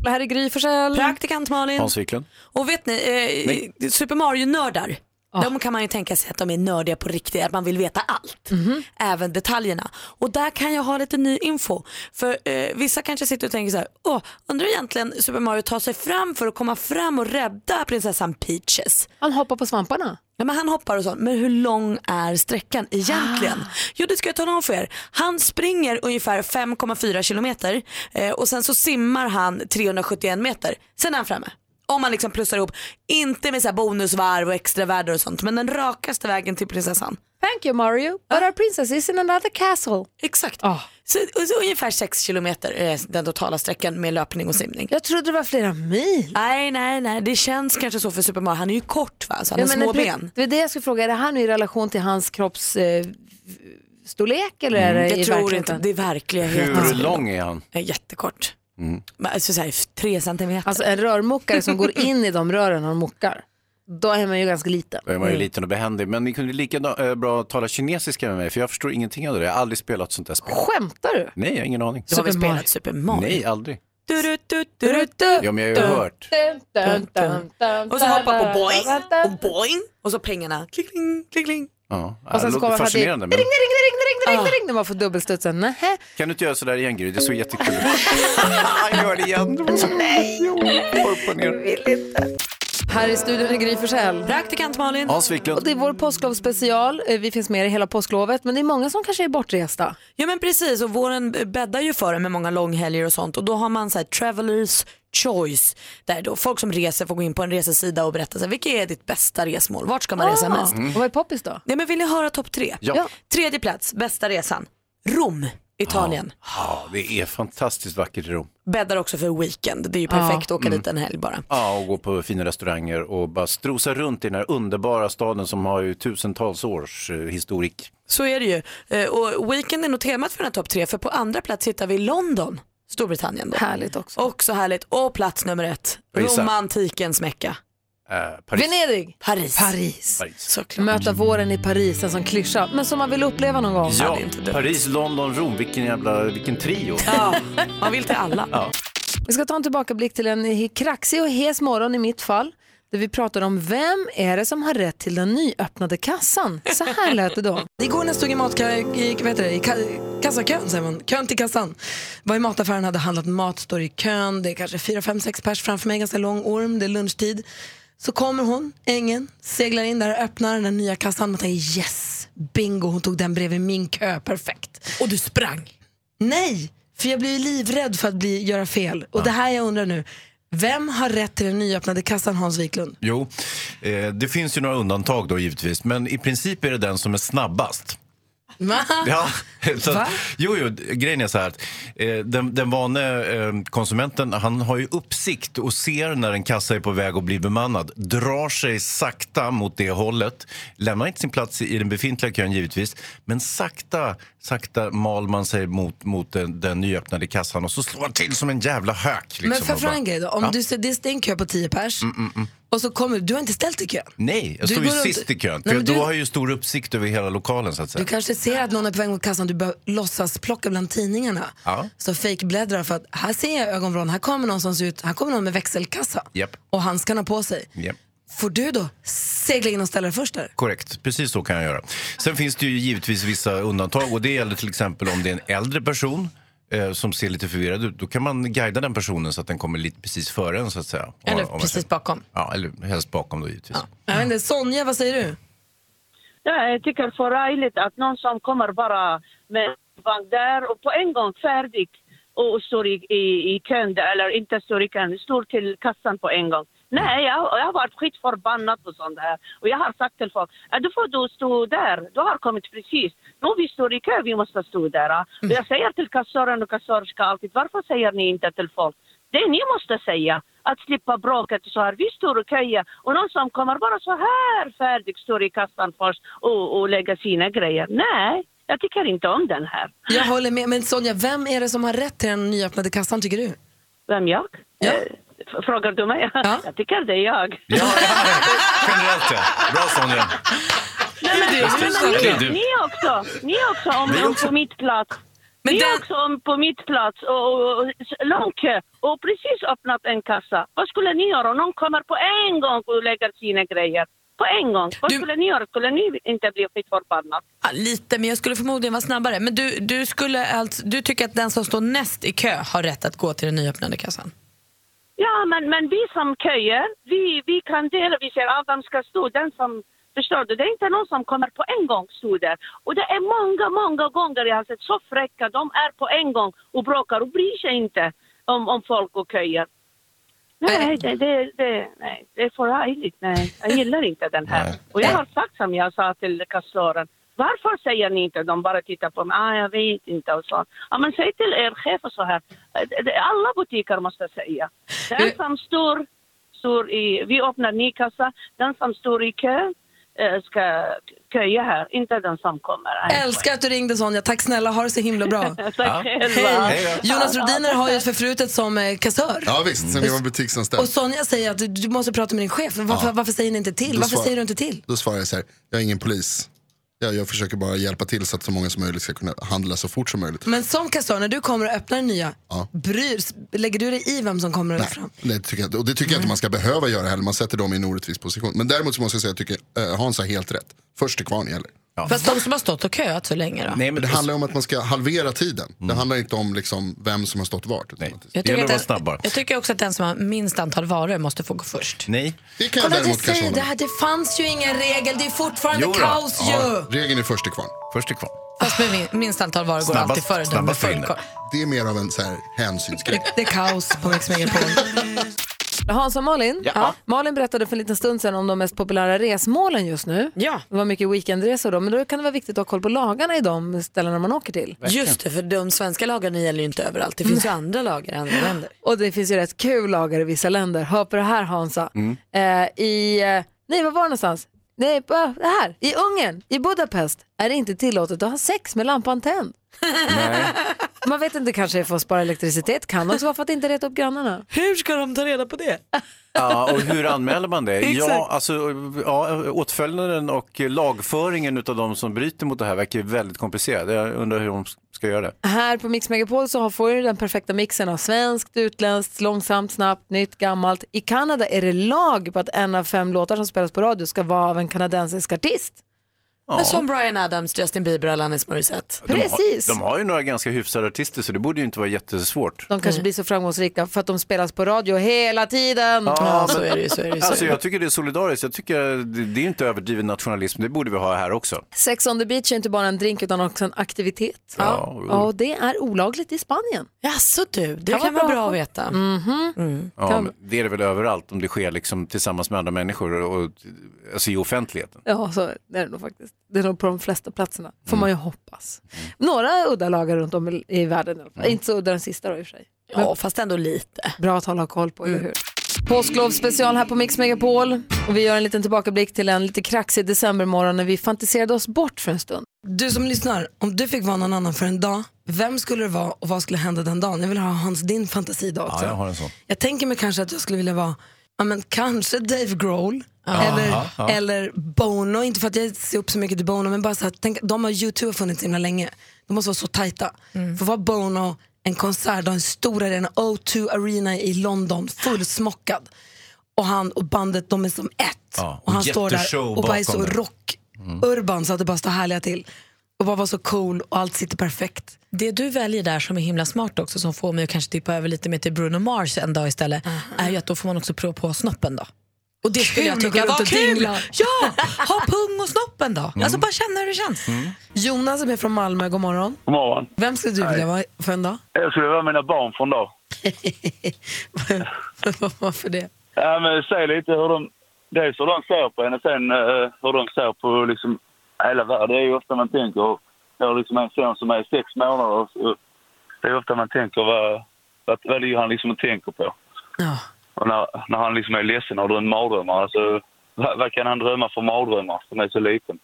Speaker 2: Det här är Gry Forssell. Praktikant Malin.
Speaker 12: Hans Wiklund.
Speaker 2: Och vet ni, eh, Super Mario-nördar, de kan man ju tänka sig att de är nördiga på riktigt, att man vill veta allt. Även detaljerna. Och där kan jag ha lite ny info. För eh, vissa kanske sitter och tänker så här, åh, undrar egentligen Super Mario tar sig fram för att komma fram och rädda prinsessan Peaches.
Speaker 19: Han hoppar på svamparna.
Speaker 2: Ja, men han hoppar och sånt, men hur lång är sträckan egentligen?
Speaker 19: Ah.
Speaker 2: Jo, det ska jag tala om för er. Han springer ungefär 5,4 kilometer eh, och sen så simmar han 371 meter. Sen är han framme. Om man liksom plussar ihop, inte med så här bonusvarv och extra världar och sånt, men den rakaste vägen till prinsessan.
Speaker 19: Thank you Mario, but our princess is in another castle. Ah.
Speaker 2: Exakt. Så, och så ungefär 6 kilometer är den totala sträckan med löpning och simning.
Speaker 19: Jag trodde det var flera mil.
Speaker 2: Nej, nej, nej. Det känns kanske så för Super Mario. Han är ju kort va, så han har
Speaker 19: men
Speaker 2: små
Speaker 19: det-
Speaker 2: ben.
Speaker 19: Det är det jag skulle fråga, är det här nu i relation till hans kroppsstorlek eh, storlek, eller är det
Speaker 2: Mm. jag
Speaker 19: i
Speaker 2: tror inte,
Speaker 19: verkligheten?
Speaker 2: det är Eh, verkligheten.
Speaker 12: Hur lång är han?
Speaker 2: Är Jättekort.
Speaker 12: Mm.
Speaker 2: Men Alltså så här, tre centimeter.
Speaker 19: Alltså en rörmokare som går in i de rören när de mokar, då är man ju ganska liten.
Speaker 12: Då är man
Speaker 2: Mm.
Speaker 3: Mm.
Speaker 12: ju liten och behändig. Men ni kunde lika da- eh, bra tala kinesiska med mig, för jag förstår ingenting av det. Jag har aldrig spelat sånt där spel.
Speaker 19: Skämtar du?
Speaker 12: Nej, jag har ingen aning.
Speaker 19: Du har väl Super Mario. spelat
Speaker 2: Super
Speaker 19: Mario?
Speaker 12: Nej, aldrig.
Speaker 2: Ja,
Speaker 12: Ja, men jag har ju hört.
Speaker 2: Och så hoppa på boing och boing och så pengarna. Klickling, klickling.
Speaker 12: Ja,
Speaker 19: Och sen
Speaker 12: det
Speaker 19: så kommer
Speaker 12: låter
Speaker 19: han till, ring,
Speaker 12: fascinerande.
Speaker 19: ring, ring,
Speaker 12: Men Ah.
Speaker 19: ring, ring, ring, ring, när man får dubbelstudsen. Nähä.
Speaker 12: kan du inte göra sådär igen, Gry? Det såg jättekul ut. Han gör det igen. Det var så- Jo, upp och ner.
Speaker 6: Här i studion är Gry Forssell.
Speaker 2: Praktikant Malin.
Speaker 21: Hans Wiklund.
Speaker 6: Och det är vår påsklovsspecial. Eh, Vi finns med er hela påsklovet, men det är många som kanske är bortresta.
Speaker 2: Ja men precis och våren bäddar ju för det med många långhelger och sånt och då har man så här travelers choice där då folk som reser får gå in på en resesida och berätta så här, vilket är ditt bästa resmål, vart ska man resa
Speaker 6: Ah,
Speaker 2: mest?
Speaker 12: Mm.
Speaker 6: Och vad är poppis då?
Speaker 2: Nej men vill ni höra topp tre?
Speaker 21: Ja. Ja.
Speaker 2: Tredje plats, bästa resan, Rom, Italien.
Speaker 21: Ja, det är fantastiskt vackert i Rom.
Speaker 2: Bäddar också för weekend, det är ju
Speaker 6: Ah.
Speaker 2: perfekt att åka dit en helg bara.
Speaker 21: Ja, och gå på fina restauranger och bara strosa runt i den här underbara staden som har ju tusentals års eh, historik.
Speaker 2: Så är det ju. Eh, Och weekend är nog temat för den här topp tre för på andra plats hittar vi London, Storbritannien. Då.
Speaker 6: Härligt också.
Speaker 2: Också härligt. Och plats nummer ett,
Speaker 21: Prisa.
Speaker 2: romantikens mecka.
Speaker 21: Eh, Paris.
Speaker 6: Venedig.
Speaker 2: Paris.
Speaker 6: Paris.
Speaker 2: Såklart.
Speaker 6: Möta våren i Paris, en sån klyscha, men som man vill uppleva någon gång.
Speaker 21: Ja, Paris, London, Rom. Vilken jävla, vilken trio.
Speaker 2: Ja, man vill till alla.
Speaker 21: Ja.
Speaker 6: Vi ska ta en tillbakablick till en he- kraxig och hes morgon i mitt fall. Där vi pratade om vem är det som har rätt till den nyöppnade kassan. Så här lät det då.
Speaker 1: Igår när jag stod i, matka, i, vad heter det, i ka- kassakön, säger man, kön till kassan, var i mataffären, hade handlat mat, står i kön, det är kanske fyra, fem, sex pers framför mig, ganska lång orm, det är lunchtid. Så kommer hon, ängen, seglar in där och öppnar den nya kassan. Man tänker yes, bingo, hon tog den bredvid min kö, perfekt.
Speaker 2: Och du sprang?
Speaker 1: Nej, för jag blir ju livrädd för att bli, göra fel. Och det här jag undrar nu, vem har rätt till den nyöppnade kassan Hans Wiklund?
Speaker 3: Jo, eh, det finns ju några undantag då givetvis, men i princip är det den som är snabbast.
Speaker 1: Va?
Speaker 3: Ja,
Speaker 1: [laughs]
Speaker 3: så att, jo, jo, grejen är så här att eh, den, den vane eh, konsumenten han har ju uppsikt och ser när en kassa är på väg att bli bemannad. Drar sig sakta mot det hållet. Lämnar inte sin plats i den befintliga kön givetvis. Men sakta, sakta mal man sig mot, mot den, den nyöppnade kassan och så slår han till som en jävla hök. Liksom,
Speaker 1: Men för
Speaker 3: och bara-
Speaker 1: en grej då, om
Speaker 3: Ja.
Speaker 1: du ser, det är en kö på tio pers
Speaker 3: Mm, mm, mm.
Speaker 1: och så kommer du, du har inte ställt dig i kön.
Speaker 3: Nej, jag
Speaker 1: Du
Speaker 3: står ju
Speaker 1: går runt-
Speaker 3: sist i kön.
Speaker 1: Nej,
Speaker 3: För
Speaker 1: men
Speaker 3: då
Speaker 1: du-
Speaker 3: har jag ju stor uppsikt över hela lokalen så att säga.
Speaker 1: Du kanske ser att någon är på väg mot kassan, du bör låtsas plocka bland tidningarna.
Speaker 3: Ja,
Speaker 1: Så fejkbläddrar för att här ser jag i ögonvrån, här kommer någon som ser ut, här kommer någon med växelkassa
Speaker 3: japp,
Speaker 1: och handskarna på sig.
Speaker 3: japp.
Speaker 1: Får du då segla in och ställa dig först där?
Speaker 3: Korrekt, precis så kan jag göra. Sen finns det ju givetvis vissa undantag och det gäller till exempel om det är en äldre person eh, som ser lite förvirrad ut. Då kan man guida den personen så att den kommer lite precis före en så att säga. Om- om man säger.
Speaker 1: bakom.
Speaker 3: Ja, eller helst bakom då givetvis.
Speaker 1: Jag vet inte, Sonja, vad säger du?
Speaker 17: Ja, jag tycker det är förargligt att någon som kommer bara med vagn där och på en gång färdig och står i, i, i kön där, eller inte står i kön, står till kassan på en gång. Nej, jag, jag har varit skitförbannad på sånt här. Och jag har sagt till folk, "Ja, då får du stå där, du har kommit precis. Nu vi står i kö, vi måste stå där. ja." Och jag säger till kassören och kassörskan alltid, varför säger ni inte till folk? Det ni måste säga, att slippa bråket och så här. Vi står och köjer och någon som kommer bara så här färdig står i kassan först och, och lägger sina grejer. Nej, jag tycker inte om den här.
Speaker 1: Jag håller med, men Sonja, vem är det som har rätt till den nyöppnade kassan tycker du?
Speaker 17: Vem jag? Eh, f- Frågar du mig? [laughs] Jag tycker det är jag.
Speaker 3: Generellt ja. Bra Sonja.
Speaker 17: Nej, men,
Speaker 3: Just
Speaker 17: men
Speaker 3: det, det är
Speaker 17: ni,
Speaker 3: du.
Speaker 17: ni också, ni också om,
Speaker 3: Vi
Speaker 17: om
Speaker 3: också.
Speaker 17: på mitt plats. ni också om på mitt plats och, och, och s- lång kö och precis öppnat en kassa. Vad skulle ni göra om någon kommer på en gång och lägger sina grejer? På en gång. Vad skulle ni göra? Skulle ni inte bli skitförbannade?
Speaker 2: Ja, lite, men jag skulle förmodligen vara snabbare. Men du, du, skulle alltså, du tycker att den som står näst i kö har rätt att gå till den nyöppnade kassan?
Speaker 17: Ja, men, men vi som köjer, vi, vi kan dela. Vi säger att vem ska stå? Den som, förstår du? Det är inte någon som kommer på en gång stå där. Och det är många, många gånger jag har sett så fräcka. De är på en gång och bråkar och bryr sig inte om, om folk och köjer. Nej, det, det, det, nej, det är förargligt. Nej, jag gillar inte den här. Och jag har sagt som jag sa till kassören. Varför säger ni inte? De bara tittar på mig. Ah, jag vet inte och så. Ja, men säg till er chef och så här. Eh, Det- det- Alla butiker måste säga. Den som står, står i, vi öppnar ny kassa. Den som står i kö eh, ska köja här, inte den som kommer.
Speaker 1: Älskar att du ringde Sonja, tack snälla, ha det så himla bra.
Speaker 17: [laughs] Tack
Speaker 1: Ja.
Speaker 17: själva. Hej då.
Speaker 1: Jonas Rhodiner har ju ett förflutet som eh, kassör.
Speaker 7: Ja visst, sen vi var butiksanställd.
Speaker 1: Och Sonja säger att du, du måste prata med din chef, varför,
Speaker 7: Ja.
Speaker 1: varför säger ni inte till?
Speaker 7: Då
Speaker 1: Varför
Speaker 7: svar-
Speaker 1: säger du inte till?
Speaker 7: Då svarar jag så här, jag är ingen polis. Jag, jag försöker bara hjälpa till så att så många som möjligt ska kunna handla så fort som möjligt.
Speaker 1: Men som kassör, när du kommer och öppnar den nya,
Speaker 7: Ja.
Speaker 1: bryr, lägger du dig i vem som kommer och fram?
Speaker 7: Nej, det tycker jag, inte. och det tycker jag inte man ska behöva göra heller, man sätter dem i en orättvis position. Men däremot så måste jag säga att jag tycker eh, Hans har helt rätt. Först till kvarn gäller.
Speaker 8: Ja.
Speaker 2: Fast de som har stått och köat så länge då?
Speaker 7: Nej, men det handlar om att man ska halvera tiden. Det handlar inte om liksom vem som har stått vart. Nej.
Speaker 2: Jag tycker, att den, jag tycker också att den som har minst antal varor måste få gå först.
Speaker 8: Nej.
Speaker 7: Det kan
Speaker 2: Kolla,
Speaker 7: jag däremot kanske hålla
Speaker 6: Det, här, det fanns ju ingen regel, det är fortfarande
Speaker 7: Jo då.
Speaker 6: kaos ju.
Speaker 7: Ja, Regeln är först till kvarn.
Speaker 8: Först till kvarn.
Speaker 2: Fast med min- minst antal varor går alltid före den med full koll.
Speaker 7: Det är mer av en så här
Speaker 2: [laughs]
Speaker 7: hänsynsgrej.
Speaker 6: Det är kaos på Mix Megapol.
Speaker 1: Hans och Malin, ja. Malin berättade för en liten stund sedan om de mest populära resmålen just nu.
Speaker 2: Ja.
Speaker 1: Det var mycket weekendresor då, men då kan det vara viktigt att ha koll på lagarna i de ställena man åker till.
Speaker 22: Just det, för de svenska lagarna gäller ju inte överallt. Det finns ju andra lagar i andra länder.
Speaker 1: Och det finns ju rätt kul lagar i vissa länder. Hör på det här Hansa.
Speaker 2: [laughs]
Speaker 1: Eh, I, eh, nej vad var det någonstans? Nej, på, det här. I Ungern, i Budapest, är det inte tillåtet att ha sex med lampan tänd. Man vet inte, kanske är för att spara elektricitet, kan också vara för att inte reta upp grannarna.
Speaker 22: Hur ska de ta reda på det?
Speaker 8: Ja, och hur anmäler man det?
Speaker 1: Exakt.
Speaker 8: Ja, alltså, ja, åtföljden och lagföringen utav de som bryter mot det här verkar ju väldigt komplicerad. Jag undrar hur de ska göra det.
Speaker 1: Här på Mix Megapol så har- får du den perfekta mixen av svenskt, utländskt, långsamt, snabbt, nytt, gammalt. I Kanada är det lag på att en av fem låtar som spelas på radio ska vara av en kanadensisk artist.
Speaker 22: Men som Brian Adams, Justin Bieber och Alanis Morissette.
Speaker 8: De
Speaker 1: Precis.
Speaker 8: Har, de har ju några ganska hyfsade artister så det borde ju inte vara jättesvårt.
Speaker 1: De kanske blir så framgångsrika för att de spelas på radio hela tiden.
Speaker 8: Alltså, jag tycker det är solidariskt. Jag tycker det, det är inte överdriven nationalism. Det borde vi ha här också.
Speaker 1: Sex on the beach är inte bara en drink utan också en aktivitet.
Speaker 8: Ja.
Speaker 1: Ja, och det är olagligt i Spanien.
Speaker 22: Jaså du, det
Speaker 1: kan vara bra att
Speaker 22: veta.
Speaker 1: Mhm.
Speaker 8: Ja,
Speaker 1: Kan-
Speaker 8: men det är det väl överallt om det sker liksom tillsammans med andra människor och, och, alltså i offentligheten.
Speaker 1: Ja, så är det nog faktiskt. Det är nog på de flesta platserna, får man ju hoppas. Några udda lagar runt om i- i världen i alla fall. Inte så udda den sista då i och för sig.
Speaker 22: Ja, fast ändå lite.
Speaker 1: Bra att hålla koll på,
Speaker 2: Mm.
Speaker 1: eller hur? Påsklovsspecial här på Mix Megapol. Och vi gör en liten tillbakablick till en lite kraxig decembermorgon när vi fantiserade oss bort för en stund.
Speaker 6: Du som lyssnar, om du fick vara någon annan för en dag, vem skulle det vara och vad skulle hända den dagen? Jag vill ha Hans din fantasidag också.
Speaker 3: Ja, jag har en sån.
Speaker 6: Jag tänker mig kanske att jag skulle vilja vara, ja men kanske Dave Grohl.
Speaker 3: Ja.
Speaker 6: Eller,
Speaker 3: Ja, ja.
Speaker 6: eller Bono, inte för att jag ser upp så mycket till Bono, men bara så här, tänk, de har U2 har funnits så himla länge. De måste vara så tajta.
Speaker 2: Mm.
Speaker 6: För var Bono en konsert, då en stor arena, O2 Arena i London, fullsmockad. Och han och bandet, de är som ett.
Speaker 3: Ja,
Speaker 6: Och han står där
Speaker 3: jätteshow
Speaker 6: och bara är så
Speaker 3: bakom det. Mm.
Speaker 6: rock-urban så att det bara står härliga till. Och bara var så cool och allt sitter perfekt.
Speaker 2: Det du väljer där som är himla smart också som får mig att kanske tippa över lite mer till Bruno Mars en dag istället är ju att då får man också prova på snoppen då. Och det skulle jag
Speaker 6: Kul att
Speaker 2: tycka
Speaker 6: gå runt
Speaker 2: var
Speaker 6: och
Speaker 2: kul!
Speaker 6: dingla.
Speaker 2: Ja, [laughs] ha pung och snoppen då.
Speaker 6: Mm.
Speaker 2: Alltså bara känna hur det känns.
Speaker 6: Jonas som är från Malmö, god morgon.
Speaker 10: God morgon.
Speaker 6: Vem skulle du
Speaker 10: Hej.
Speaker 6: vilja vara för en dag? [laughs]
Speaker 10: Jag skulle vara mina barn från dag.
Speaker 6: Varför det?
Speaker 10: Ja, men säg lite hur de... Dels hur de ser på en och sen eh, hur de ser på liksom hela världen. Det är ju ofta man tänker... Jag har liksom en son som är sex månader. Så det är ofta man tänker vad, vad, vad det är han liksom tänker på.
Speaker 6: Ja.
Speaker 10: Och när, när han liksom är ledsen har drömt mardrömmar. Alltså, vad, vad kan han drömma för mardrömmar som är så liten?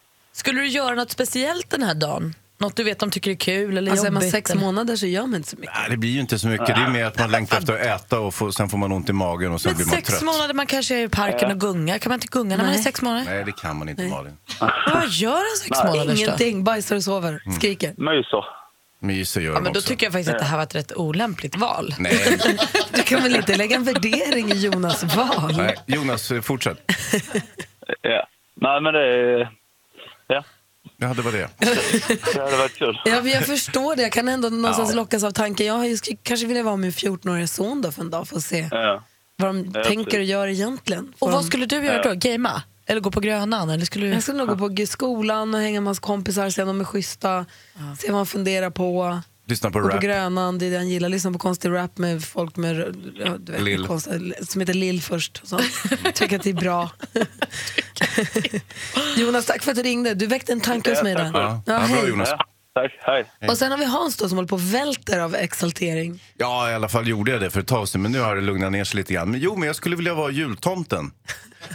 Speaker 2: Skulle du göra något speciellt den här dagen? Något du vet de tycker är kul eller
Speaker 6: Alltså är
Speaker 2: jobbigt?
Speaker 6: man sex
Speaker 2: eller?
Speaker 6: månader så gör man inte så mycket.
Speaker 3: Nej, det blir ju inte så mycket. Det är mer att man längtar efter att äta och får, sen får man ont i magen och sen
Speaker 2: Men
Speaker 3: blir man
Speaker 2: sex
Speaker 3: trött.
Speaker 2: månader, man kanske är i parken
Speaker 3: Ja.
Speaker 2: och gungar. Kan man inte gunga när man är sex månader?
Speaker 3: Nej, det kan man inte Malin.
Speaker 2: Vad gör en sex månaders då?
Speaker 6: Ingenting, bajsar och sover,
Speaker 3: Mm.
Speaker 6: skriker.
Speaker 10: Myser.
Speaker 3: Myser gör
Speaker 2: Ja,
Speaker 3: de
Speaker 2: men då
Speaker 3: också.
Speaker 2: tycker jag faktiskt att det här var ett rätt olämpligt val. [laughs]
Speaker 3: Nej.
Speaker 6: Du kan väl inte lägga en värdering i Jonas val?
Speaker 3: Nej, Jonas, eh, fortsätt.
Speaker 10: [laughs] Ja. Nej, men det... Ja.
Speaker 3: Ja, det var det.
Speaker 10: Det hade varit kul.
Speaker 6: Ja, men jag förstår det. Jag kan ändå någonstans
Speaker 10: Ja.
Speaker 6: lockas av tanken. Jag har ju sk- kanske vill vara med min 14-åriga son då för en dag för att se
Speaker 10: Ja.
Speaker 6: vad de
Speaker 10: Ja,
Speaker 6: tänker och
Speaker 10: precis.
Speaker 6: gör egentligen.
Speaker 2: Och vad skulle du göra då? Gamea? Eller gå på Grönan? Eller skulle du...
Speaker 6: Jag skulle nog gå på g- skolan och hänga med hans kompisar, se om de är schyssta, se vad han funderar på.
Speaker 3: Lyssna på
Speaker 6: Gå på
Speaker 3: rap.
Speaker 6: Grönan, det är det han gillar. Lyssna på konstig rap med folk med, ja, du vet,
Speaker 3: Lill.
Speaker 6: Konstiga, som heter Lill först. Och sånt. Tycker att det är
Speaker 2: [laughs]
Speaker 6: bra. Jonas, tack för att du ringde. Du väckte en tanke hos mig där.
Speaker 3: Ja,
Speaker 6: Ja,
Speaker 3: ja, bra
Speaker 6: hej.
Speaker 3: Jonas.
Speaker 10: Tack, hej.
Speaker 6: Och sen har vi Hans då som håller på och välter av exaltering.
Speaker 3: Ja, i alla fall gjorde jag det för ett tag sedan, men nu har det lugnat ner sig lite grann. Men jo, men jag skulle vilja vara jultomten.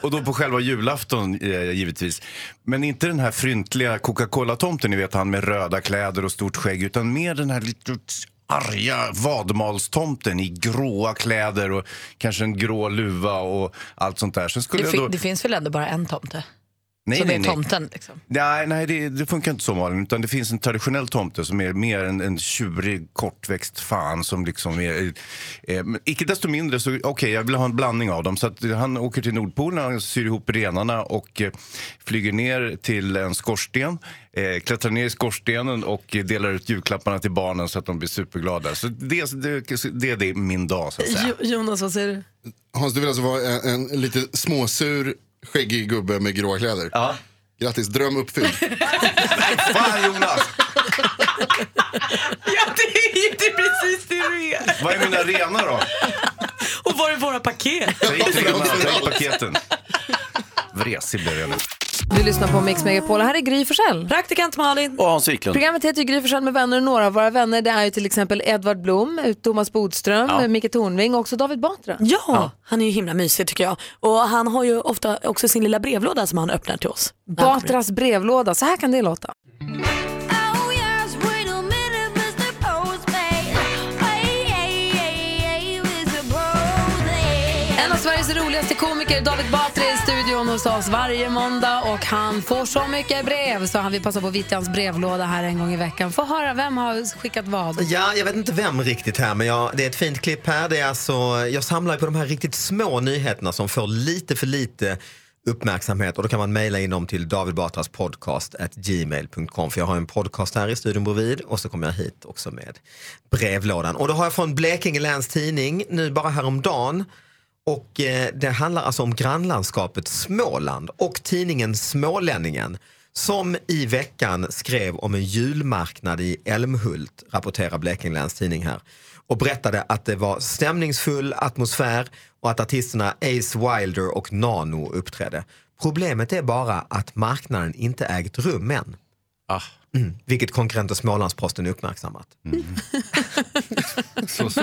Speaker 3: Och då på själva julafton, eh, givetvis. Men inte den här fryntliga Coca-Cola-tomten, ni vet han med röda kläder och stort skägg, utan mer den här lite arga vadmalstomten i gråa kläder och kanske en grå luva och allt sånt där. Sen skulle
Speaker 2: Det,
Speaker 3: jag
Speaker 2: fin-
Speaker 3: då...
Speaker 2: det finns väl ändå bara en tomte?
Speaker 3: Nej,
Speaker 23: som
Speaker 3: nej,
Speaker 23: är
Speaker 3: nej.
Speaker 23: tomten. Liksom.
Speaker 3: Nej, nej det, det funkar inte så Malin. Utan det finns en traditionell tomte som är mer en, en tjurig, kortväxt fan som liksom är... Eh, men icke desto mindre så, okej, jag vill ha en blandning av dem. Så att eh, han åker till Nordpolen, han syr ihop renarna och eh, flyger ner till en skorsten. Eh, klättrar ner i skorstenen och eh, delar ut julklapparna till barnen så att de blir superglada. Så det, det, det, det är min dag så att säga.
Speaker 1: Jo, Jonas, vad säger du?
Speaker 7: Hans, du vill alltså vara en, en lite småsur, skäggig gubbe med gråa kläder?
Speaker 3: Ja.
Speaker 7: Grattis, dröm uppfylld.
Speaker 3: Fan Jonas!
Speaker 2: [laughs] Ja, det är ju precis det du är.
Speaker 3: Vad är mina renar då?
Speaker 2: Och var är våra paket?
Speaker 3: Säg till renar, säg paketen. Vresig blev jag nu.
Speaker 1: Du lyssnar på Mix Megapol. Här är Gry Forssell.
Speaker 2: Praktikant Malin.
Speaker 9: Och Hans Wiklund.
Speaker 1: Programmet heter ju Gry Forssell med vänner och några av våra vänner det är ju till exempel Edvard Blom, Thomas Bodström,
Speaker 2: Ja.
Speaker 1: Micke Tornving och också David Batra.
Speaker 2: Ja, han är ju himla mysig tycker jag. Och han har ju ofta också sin lilla brevlåda som han öppnar till oss.
Speaker 1: Batras brevlåda, så här kan det låta. En av Sveriges roligaste komiker, David Batra, är i studion hos oss varje måndag och han får så mycket brev så han vill passa på att vittja hans brevlåda här en gång i veckan. Få höra, vem har skickat vad?
Speaker 24: Ja, jag vet inte vem riktigt här, men jag, det är ett fint klipp här. Det är alltså, jag samlar ju på de här riktigt små nyheterna som får lite för lite uppmärksamhet och då kan man mejla in dem till David Batras podcast at gmail.com för jag har en podcast här i studion bredvid och så kommer jag hit också med brevlådan. Och då har jag från Blekinge Läns Tidning nu bara häromdagen och eh, det handlar alltså om grannlandskapet Småland och tidningen Smålänningen som i veckan skrev om en julmarknad i Älmhult, rapporterar Blekinge Läns Tidning här och berättade att det var stämningsfull atmosfär och att artisterna Ace Wilder och Nano uppträdde. Problemet är bara att marknaden inte ägt rum än. Mm, vilket konkurrenter Smålandsposten uppmärksammat.
Speaker 2: Men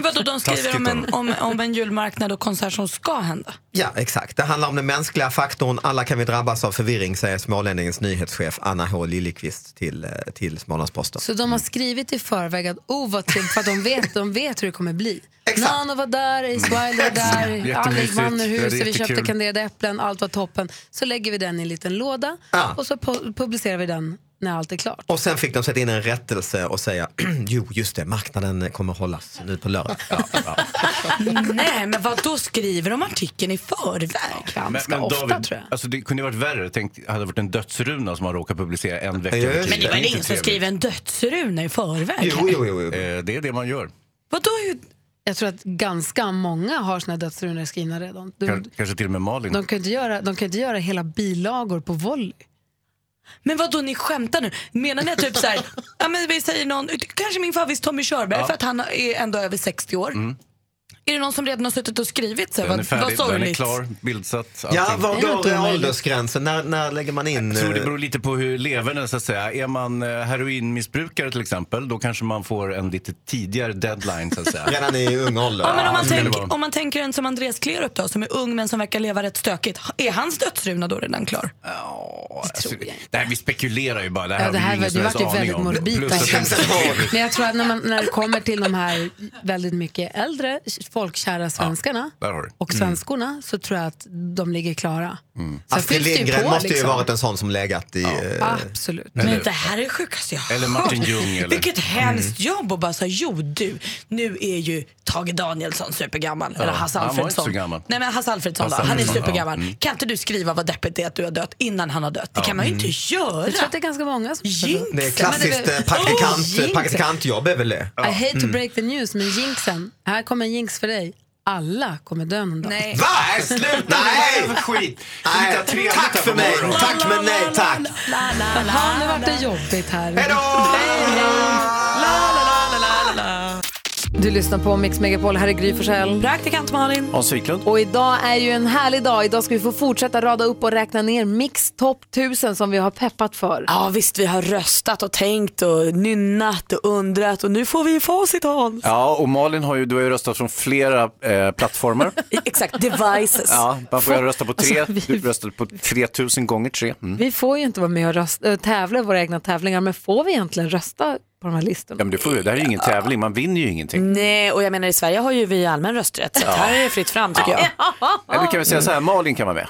Speaker 2: vadå, de skriver om en, om, om en julmarknad och konsert som ska
Speaker 3: [laughs]
Speaker 2: hända?
Speaker 24: Ja, exakt. Det handlar om den mänskliga faktorn. Alla kan vi drabbas av förvirring, säger Smålänningens nyhetschef Anna H Liljeqvist till, eh, till Smålandsposten.
Speaker 1: Så de har skrivit i förväg att oh vad trevligt för att de vet, de vet hur det kommer bli. Nano var där, Ace Wilder var där,
Speaker 24: Jättemysigt.
Speaker 1: Alex Mannerhus,
Speaker 24: Det är
Speaker 1: vi köpte
Speaker 24: jättekul.
Speaker 1: kanderade äpplen, allt var toppen. Så lägger vi den i en liten låda
Speaker 24: Ja.
Speaker 1: och så pu- publicerar vi den när allt är klart.
Speaker 24: Och sen fick de sätta in en rättelse och säga, [clears throat] jo just det, marknaden kommer hållas nu på lördag. Ja, ja.
Speaker 2: Nej, men vad då skriver de artikeln i förväg?
Speaker 3: Alltså, det kunde ju varit värre. Tänk, hade det varit en dödsruna som man råkat publicera en vecka för tidigt.
Speaker 2: Men det var
Speaker 3: är
Speaker 2: väl
Speaker 3: inte
Speaker 2: ingen som
Speaker 3: trevligt.
Speaker 2: skriver en dödsruna i förväg?
Speaker 3: Eh, Det är det man gör.
Speaker 2: Vadå?
Speaker 1: Jag tror att ganska många har sina dödsrunor skrivna redan. De,
Speaker 3: Kans- Kanske till och med Malin.
Speaker 1: de, kan inte göra, de kan inte göra hela bilagor på volley.
Speaker 2: Men vad då ni skämtar nu? Menar ni att typ så
Speaker 3: [laughs]
Speaker 2: här, ja, men vi säger någon, kanske min favvis Tommy Körberg
Speaker 24: Ja.
Speaker 2: för att han är ändå över 60 år. Är det någon som redan har suttit och skrivit så här,
Speaker 3: Mm. Den är
Speaker 2: vad, vad
Speaker 3: färdig, den är
Speaker 2: sorgligt?
Speaker 3: klar, bildsatt.
Speaker 24: Ja,
Speaker 3: allting.
Speaker 24: var går åldersgränsen? När, när lägger man in?
Speaker 3: Jag tror det
Speaker 24: eh,
Speaker 3: beror lite på hur leverne så att säga. Är man eh, heroinmissbrukare till exempel, då kanske man får en lite tidigare deadline så att
Speaker 24: [laughs]
Speaker 3: säga.
Speaker 24: Redan i ung ålder.
Speaker 2: Ja, men om, man
Speaker 3: Så kan det
Speaker 2: tänker,
Speaker 3: vara.
Speaker 2: om man tänker en som Andreas Klerup då, som är ung men som verkar leva rätt stökigt. Är hans dödsruna då redan klar?
Speaker 3: Äh, Alltså, det här, vi spekulerar ju bara. Det här
Speaker 1: Ja,
Speaker 3: har
Speaker 1: det
Speaker 3: vi
Speaker 1: här
Speaker 3: ingen
Speaker 1: var,
Speaker 3: som
Speaker 1: det vart
Speaker 3: helst
Speaker 1: ju
Speaker 3: aning
Speaker 1: väldigt
Speaker 3: om.
Speaker 1: morbid
Speaker 3: Plus att det inte är trevligt.
Speaker 1: Men jag tror att när, man, när det kommer till de här väldigt mycket äldre, folkkära
Speaker 24: eh,
Speaker 1: svenskarna
Speaker 3: Där har du.
Speaker 1: och svenskorna så tror jag att de ligger klara.
Speaker 24: Mm.
Speaker 1: Sen
Speaker 24: Astrid
Speaker 1: fylls det ju
Speaker 24: Lindgren
Speaker 1: på,
Speaker 24: måste ju
Speaker 1: liksom.
Speaker 24: varit en sån som legat i... eh,
Speaker 1: Absolut.
Speaker 2: Men
Speaker 24: Eller- Mm.
Speaker 2: det här är det sjukaste jag har
Speaker 24: Eller Martin
Speaker 2: hört.
Speaker 24: Ljung, eller-
Speaker 2: Vilket
Speaker 3: Mm.
Speaker 2: hemskt jobb att bara säga, jo du, nu är ju Tage Danielsson supergammal.
Speaker 3: Ja,
Speaker 2: eller Hasse
Speaker 3: han var inte
Speaker 2: Alfredsson.
Speaker 3: så gammal.
Speaker 2: Nej men Hasse Alfredsson då, han
Speaker 3: Hasse
Speaker 2: är
Speaker 3: Alfredsson,
Speaker 2: supergammal.
Speaker 3: ja. Mm.
Speaker 2: Kan inte du skriva vad deppigt det är att du har dött innan han har dött? Det kan man ju
Speaker 3: Mm.
Speaker 2: inte göra.
Speaker 1: Jag tror att det är ganska många som Alltså,
Speaker 2: Jinx.
Speaker 24: Det är
Speaker 1: Men
Speaker 24: klassiskt
Speaker 1: det är-
Speaker 24: eh, praktikant,
Speaker 1: Oh, jinx.
Speaker 24: praktikantjobb är väl det? Mm.
Speaker 1: I hate to break the news, men jinxen, här kommer en jinx för dig. Alla kommer dö någon dag.
Speaker 2: Nej.
Speaker 24: Va? Nej, sluta! Nej! Vad
Speaker 3: [laughs]
Speaker 24: är det för skit? Nej, tack för mig! Tack men nej tack!
Speaker 1: Har nu varit det jobbigt här. Hej Du lyssnar på Mix Megapol, här är Gry Forssell.
Speaker 2: Praktikant Malin.
Speaker 9: Hans Wiklund.
Speaker 1: Och idag är ju en härlig dag. Idag ska vi få fortsätta rada upp och räkna ner Mix Top 1000 som vi har peppat för.
Speaker 2: Ja visst, vi har röstat och tänkt och nynnat och undrat och nu får vi ju facit Hans.
Speaker 9: Ja, och Malin har ju, du har ju röstat från flera eh, plattformar.
Speaker 2: [laughs] Exakt, devices.
Speaker 9: Ja, man får ju rösta på tre.
Speaker 1: Alltså, vi-
Speaker 9: Du röstade på 3000 gånger tre. Mm.
Speaker 1: Vi får ju inte vara med och rösta, äh, tävla i våra egna tävlingar, men får vi egentligen rösta på de här listorna?
Speaker 9: Ja, men det, får du. det här är ju ingen tävling, man vinner ju ingenting.
Speaker 2: Nej, och jag menar i Sverige har ju vi allmän rösträtt så att
Speaker 9: Ja.
Speaker 2: här är det fritt fram tycker jag.
Speaker 9: Eller kan vi säga så här, Malin kan vara med.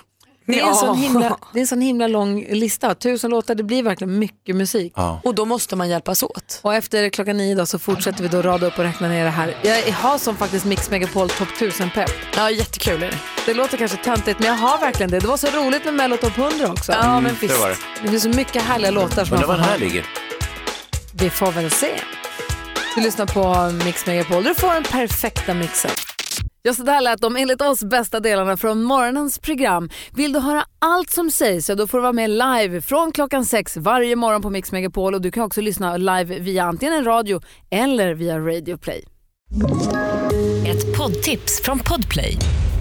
Speaker 1: Det är, en sån
Speaker 22: Ja.
Speaker 1: himla, det är en sån himla lång lista. Tusen låtar, det blir verkligen mycket musik.
Speaker 8: Ja.
Speaker 1: Och då måste man hjälpas åt. Och efter klockan nio då, så fortsätter vi då rada upp och räkna ner det här. Jag har som faktiskt Mix Megapol Top 1000-pepp.
Speaker 22: Ja, jättekul är det.
Speaker 1: Det låter kanske töntigt, men jag har verkligen det. Det var så roligt med Mello Top 100 också.
Speaker 8: Ja, Mm, men det visst. var det.
Speaker 1: Det finns så mycket härliga låtar som
Speaker 8: Undrar var
Speaker 1: man
Speaker 8: den
Speaker 1: får
Speaker 8: här
Speaker 1: höra.
Speaker 8: ligger.
Speaker 1: Vi får väl se. Du lyssnar på Mix Megapol. Du får den perfekta mixen. Ja, så där lät de enligt oss bästa delarna från morgonens program. Vill du höra allt som sägs, ja, då får du vara med live från klockan sex varje morgon på Mix Megapol. Och du kan också lyssna live via antingen en radio eller via Radio Play.
Speaker 12: Ett poddtips från Podplay.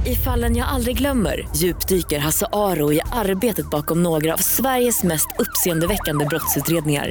Speaker 12: I fallen jag aldrig glömmer djupdyker Hasse Aro i arbetet bakom några av Sveriges mest uppseendeväckande brottsutredningar.